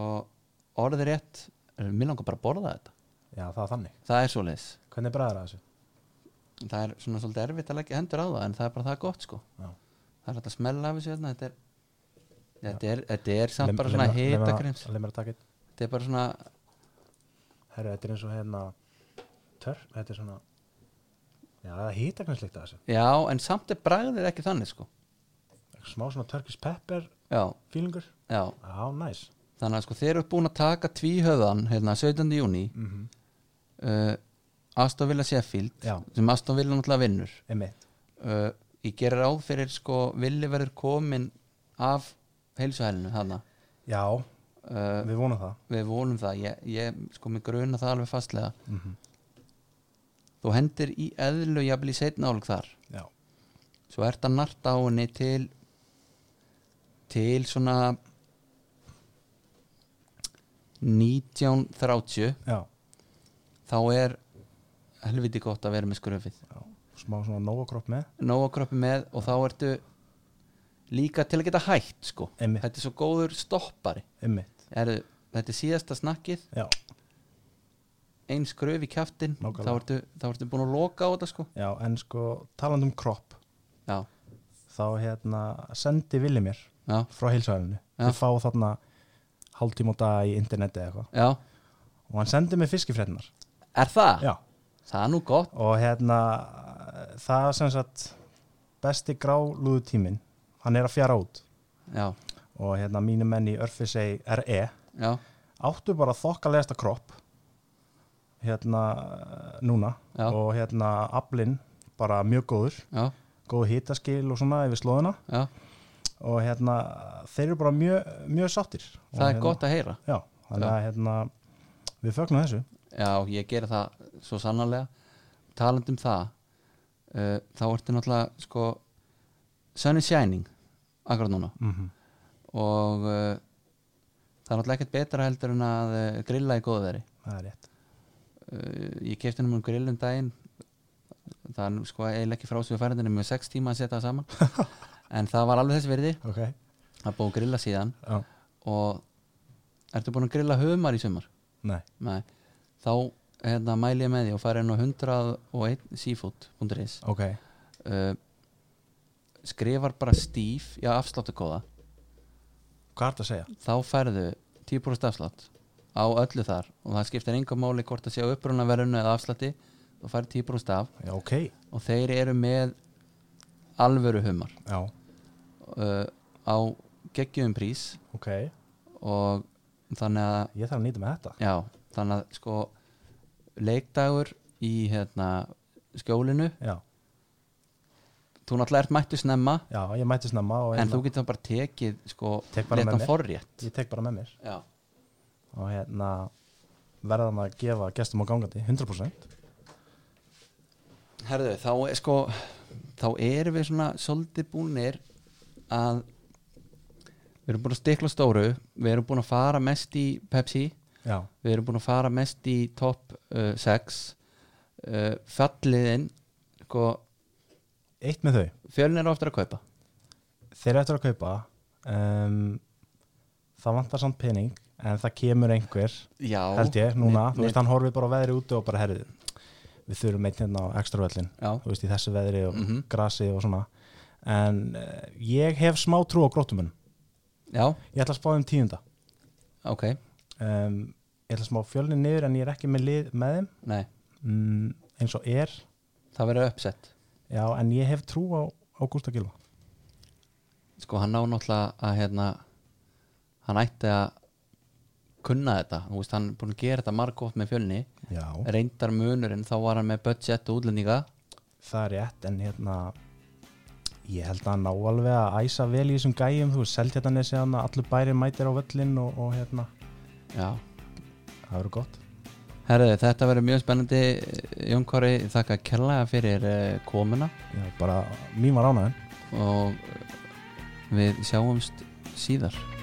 A: og orðið rétt, eh, mér langar bara að borða þetta
B: já, það er þannig
A: það er svoleiðis,
B: hvernig bræður það þessu?
A: það er svona svolítið erfitt að leggja hendur á það en það er bara það gott sko
B: Já.
A: það er hægt að smella af þessu hérna þetta er, þetta er, þetta er samt
B: Lem-
A: bara svona
B: lemra- lemra-
A: hitakrims
B: lemra takið.
A: þetta er bara svona,
B: Herru, þetta er eins og hérna törn, þetta er svona já, það hýta kannski líkt að þessu
A: já en samt er bragðið ekki þannig sko
B: Eitthvað smá svona Turkish pepper
A: já,
B: feelingur,
A: já
B: já, næs
A: þannig að sko þeir eru búin að taka tvíhöðan hérna 17. júni
B: mm -hmm.
A: uh, Aston Villa Sheffield
B: já,
A: sem Aston Villa náttúrulega vinnur
B: emitt,
A: uh, ég gerir ráð fyrir sko villi verður komin af heilsuhælinu hana
B: já,
A: uh,
B: við vonum það
A: við vonum það, ég, ég sko mig gruna það alveg fastlega
B: mm -hmm.
A: þú hendir í eðlu jafnvel í setna álug þar
B: já,
A: svo ert að narta á henni til til svona 1930
B: já,
A: þá er helviti gott að vera með skröfið
B: já smá svona nógakropp með
A: nóga kröppi með og þá ertu líka til að geta hægt sko
B: Einmitt.
A: þetta er svo góður stoppari
B: emitt,
A: er, þetta er síðasta snakkið
B: já,
A: ein skröf í kjaftin
B: Nákvæmlega.
A: þá ertu, þá ertu búin að loka á þetta sko
B: já, en sko taland um kropp,
A: já,
B: þá hérna sendi villi mér
A: já,
B: frá heilsvæðinu,
A: Já.
B: ég fá þarna hálftíma og dag í interneti eða eitthvað
A: já
B: og hann sendi mér fiskifréttinar
A: er það?
B: já,
A: það er nú gott
B: og hérna það sem sagt besti grálúðu tíminn hann er að fjara út
A: já,
B: og hérna mínu menn í E Örfisei RE
A: já,
B: áttu bara þokkalegasta kropp hérna núna
A: Já.
B: og hérna aflinn bara mjög góður,
A: já,
B: góð hitaskil og svona yfir slóðina
A: já,
B: og hérna þeir eru bara mjög, mjög sáttir
A: það
B: hérna-
A: er gott að heyra
B: Já, þannig að hérna við fögnum þessu
A: Já, ég geri það svo sannarlega talandi um það uh, þá ertu náttúrulega sko Sunny Shining akkurat núna
B: mm -hmm.
A: og uh, það er náttúrulega ekkert betra heldur en að uh, grilla í góðu veri
B: Það er rétt
A: uh, ég kefti henni um grillum daginn það er nú sko eiginlega ekki frá sér færendinu með sex tíma að setja það saman en það var alveg þess virði
B: Ok,
A: að búið að grilla síðan
B: já,
A: og ertu búin að grilla humar í sumar?
B: nei
A: Nei, þá hérna, mæli ég með því og fara inn á 101 seafood.is
B: Ok,
A: uh, skrifar bara stíf já afsláttukóða,
B: hvað er þetta að segja?
A: þá færðu 10% afslátt á öllu þar og það skiptir engum máli hvort að sé á uppruna eða afslátti og færðu 10% af
B: Já, ok,
A: og þeir eru með alvöru humar
B: já,
A: uh, á geggjum prís
B: ok
A: og þannig að
B: Ég þarf að nýta með þetta
A: Já, þannig að sko leikdagur í hérna, skjólinu,
B: Já,
A: þú náttúrulega ert mættu snemma
B: já, ég mæti snemma og
A: en þú getur bara tekið sko
B: Tek bara með
A: léttan
B: mér.
A: forrétt
B: Ég tek bara með mér
A: Já,
B: og hérna verðan að gefa gestum á gangandi 100%
A: herðu, þá er sko þá erum við svona svolítið búnir að við erum búin að stikla á stóru við erum búin að fara mest í Pepsi
B: Já,
A: við erum búin að fara mest í top uh, 6 uh, falliðin sko,
B: eitt með þau
A: fjölin eru oftar að kaupa
B: Þeir eru eftir að kaupa um, Það vantar samt pening en það kemur einhver
A: Já,
B: held ég, núna,
A: Nei,
B: þú veist, hann horfið bara á veðri úti og bara herrið, við þurfum einn hérna á ekstra völlin,
A: Já.
B: þú veist, í þessu veðri og
A: Mhm.
B: grasi og svona en uh, ég hef smá trú á grótumunum
A: Já,
B: ég ætla að spá þeim tíunda
A: ok,
B: um, ég ætla að smá fjölni niður en ég er ekki með, lið, með þeim
A: nei,
B: mm, eins og er,
A: það verður uppsett
B: já, en ég hef trú á Ágústa Gilva
A: Sko hann á náttúrulega að hérna hann ætti að kunna þetta, þú veist hann er búin að gera þetta margótt með fjölni,
B: já,
A: reyndar munurinn þá var hann með budget og útlendinga
B: það er rétt en hérna ég held að hann ná alveg að æsa vel í þessum gæjum, þú veist, seldjartanesi hann allur bæri mætir á völlin og, og hérna
A: Já,
B: það verður gott
A: herðu þetta verður mjög spennandi Jón Kori, þakka kærlega fyrir eh, komuna
B: já, bara, mín var ánæðin
A: og eh, við sjáumst síðar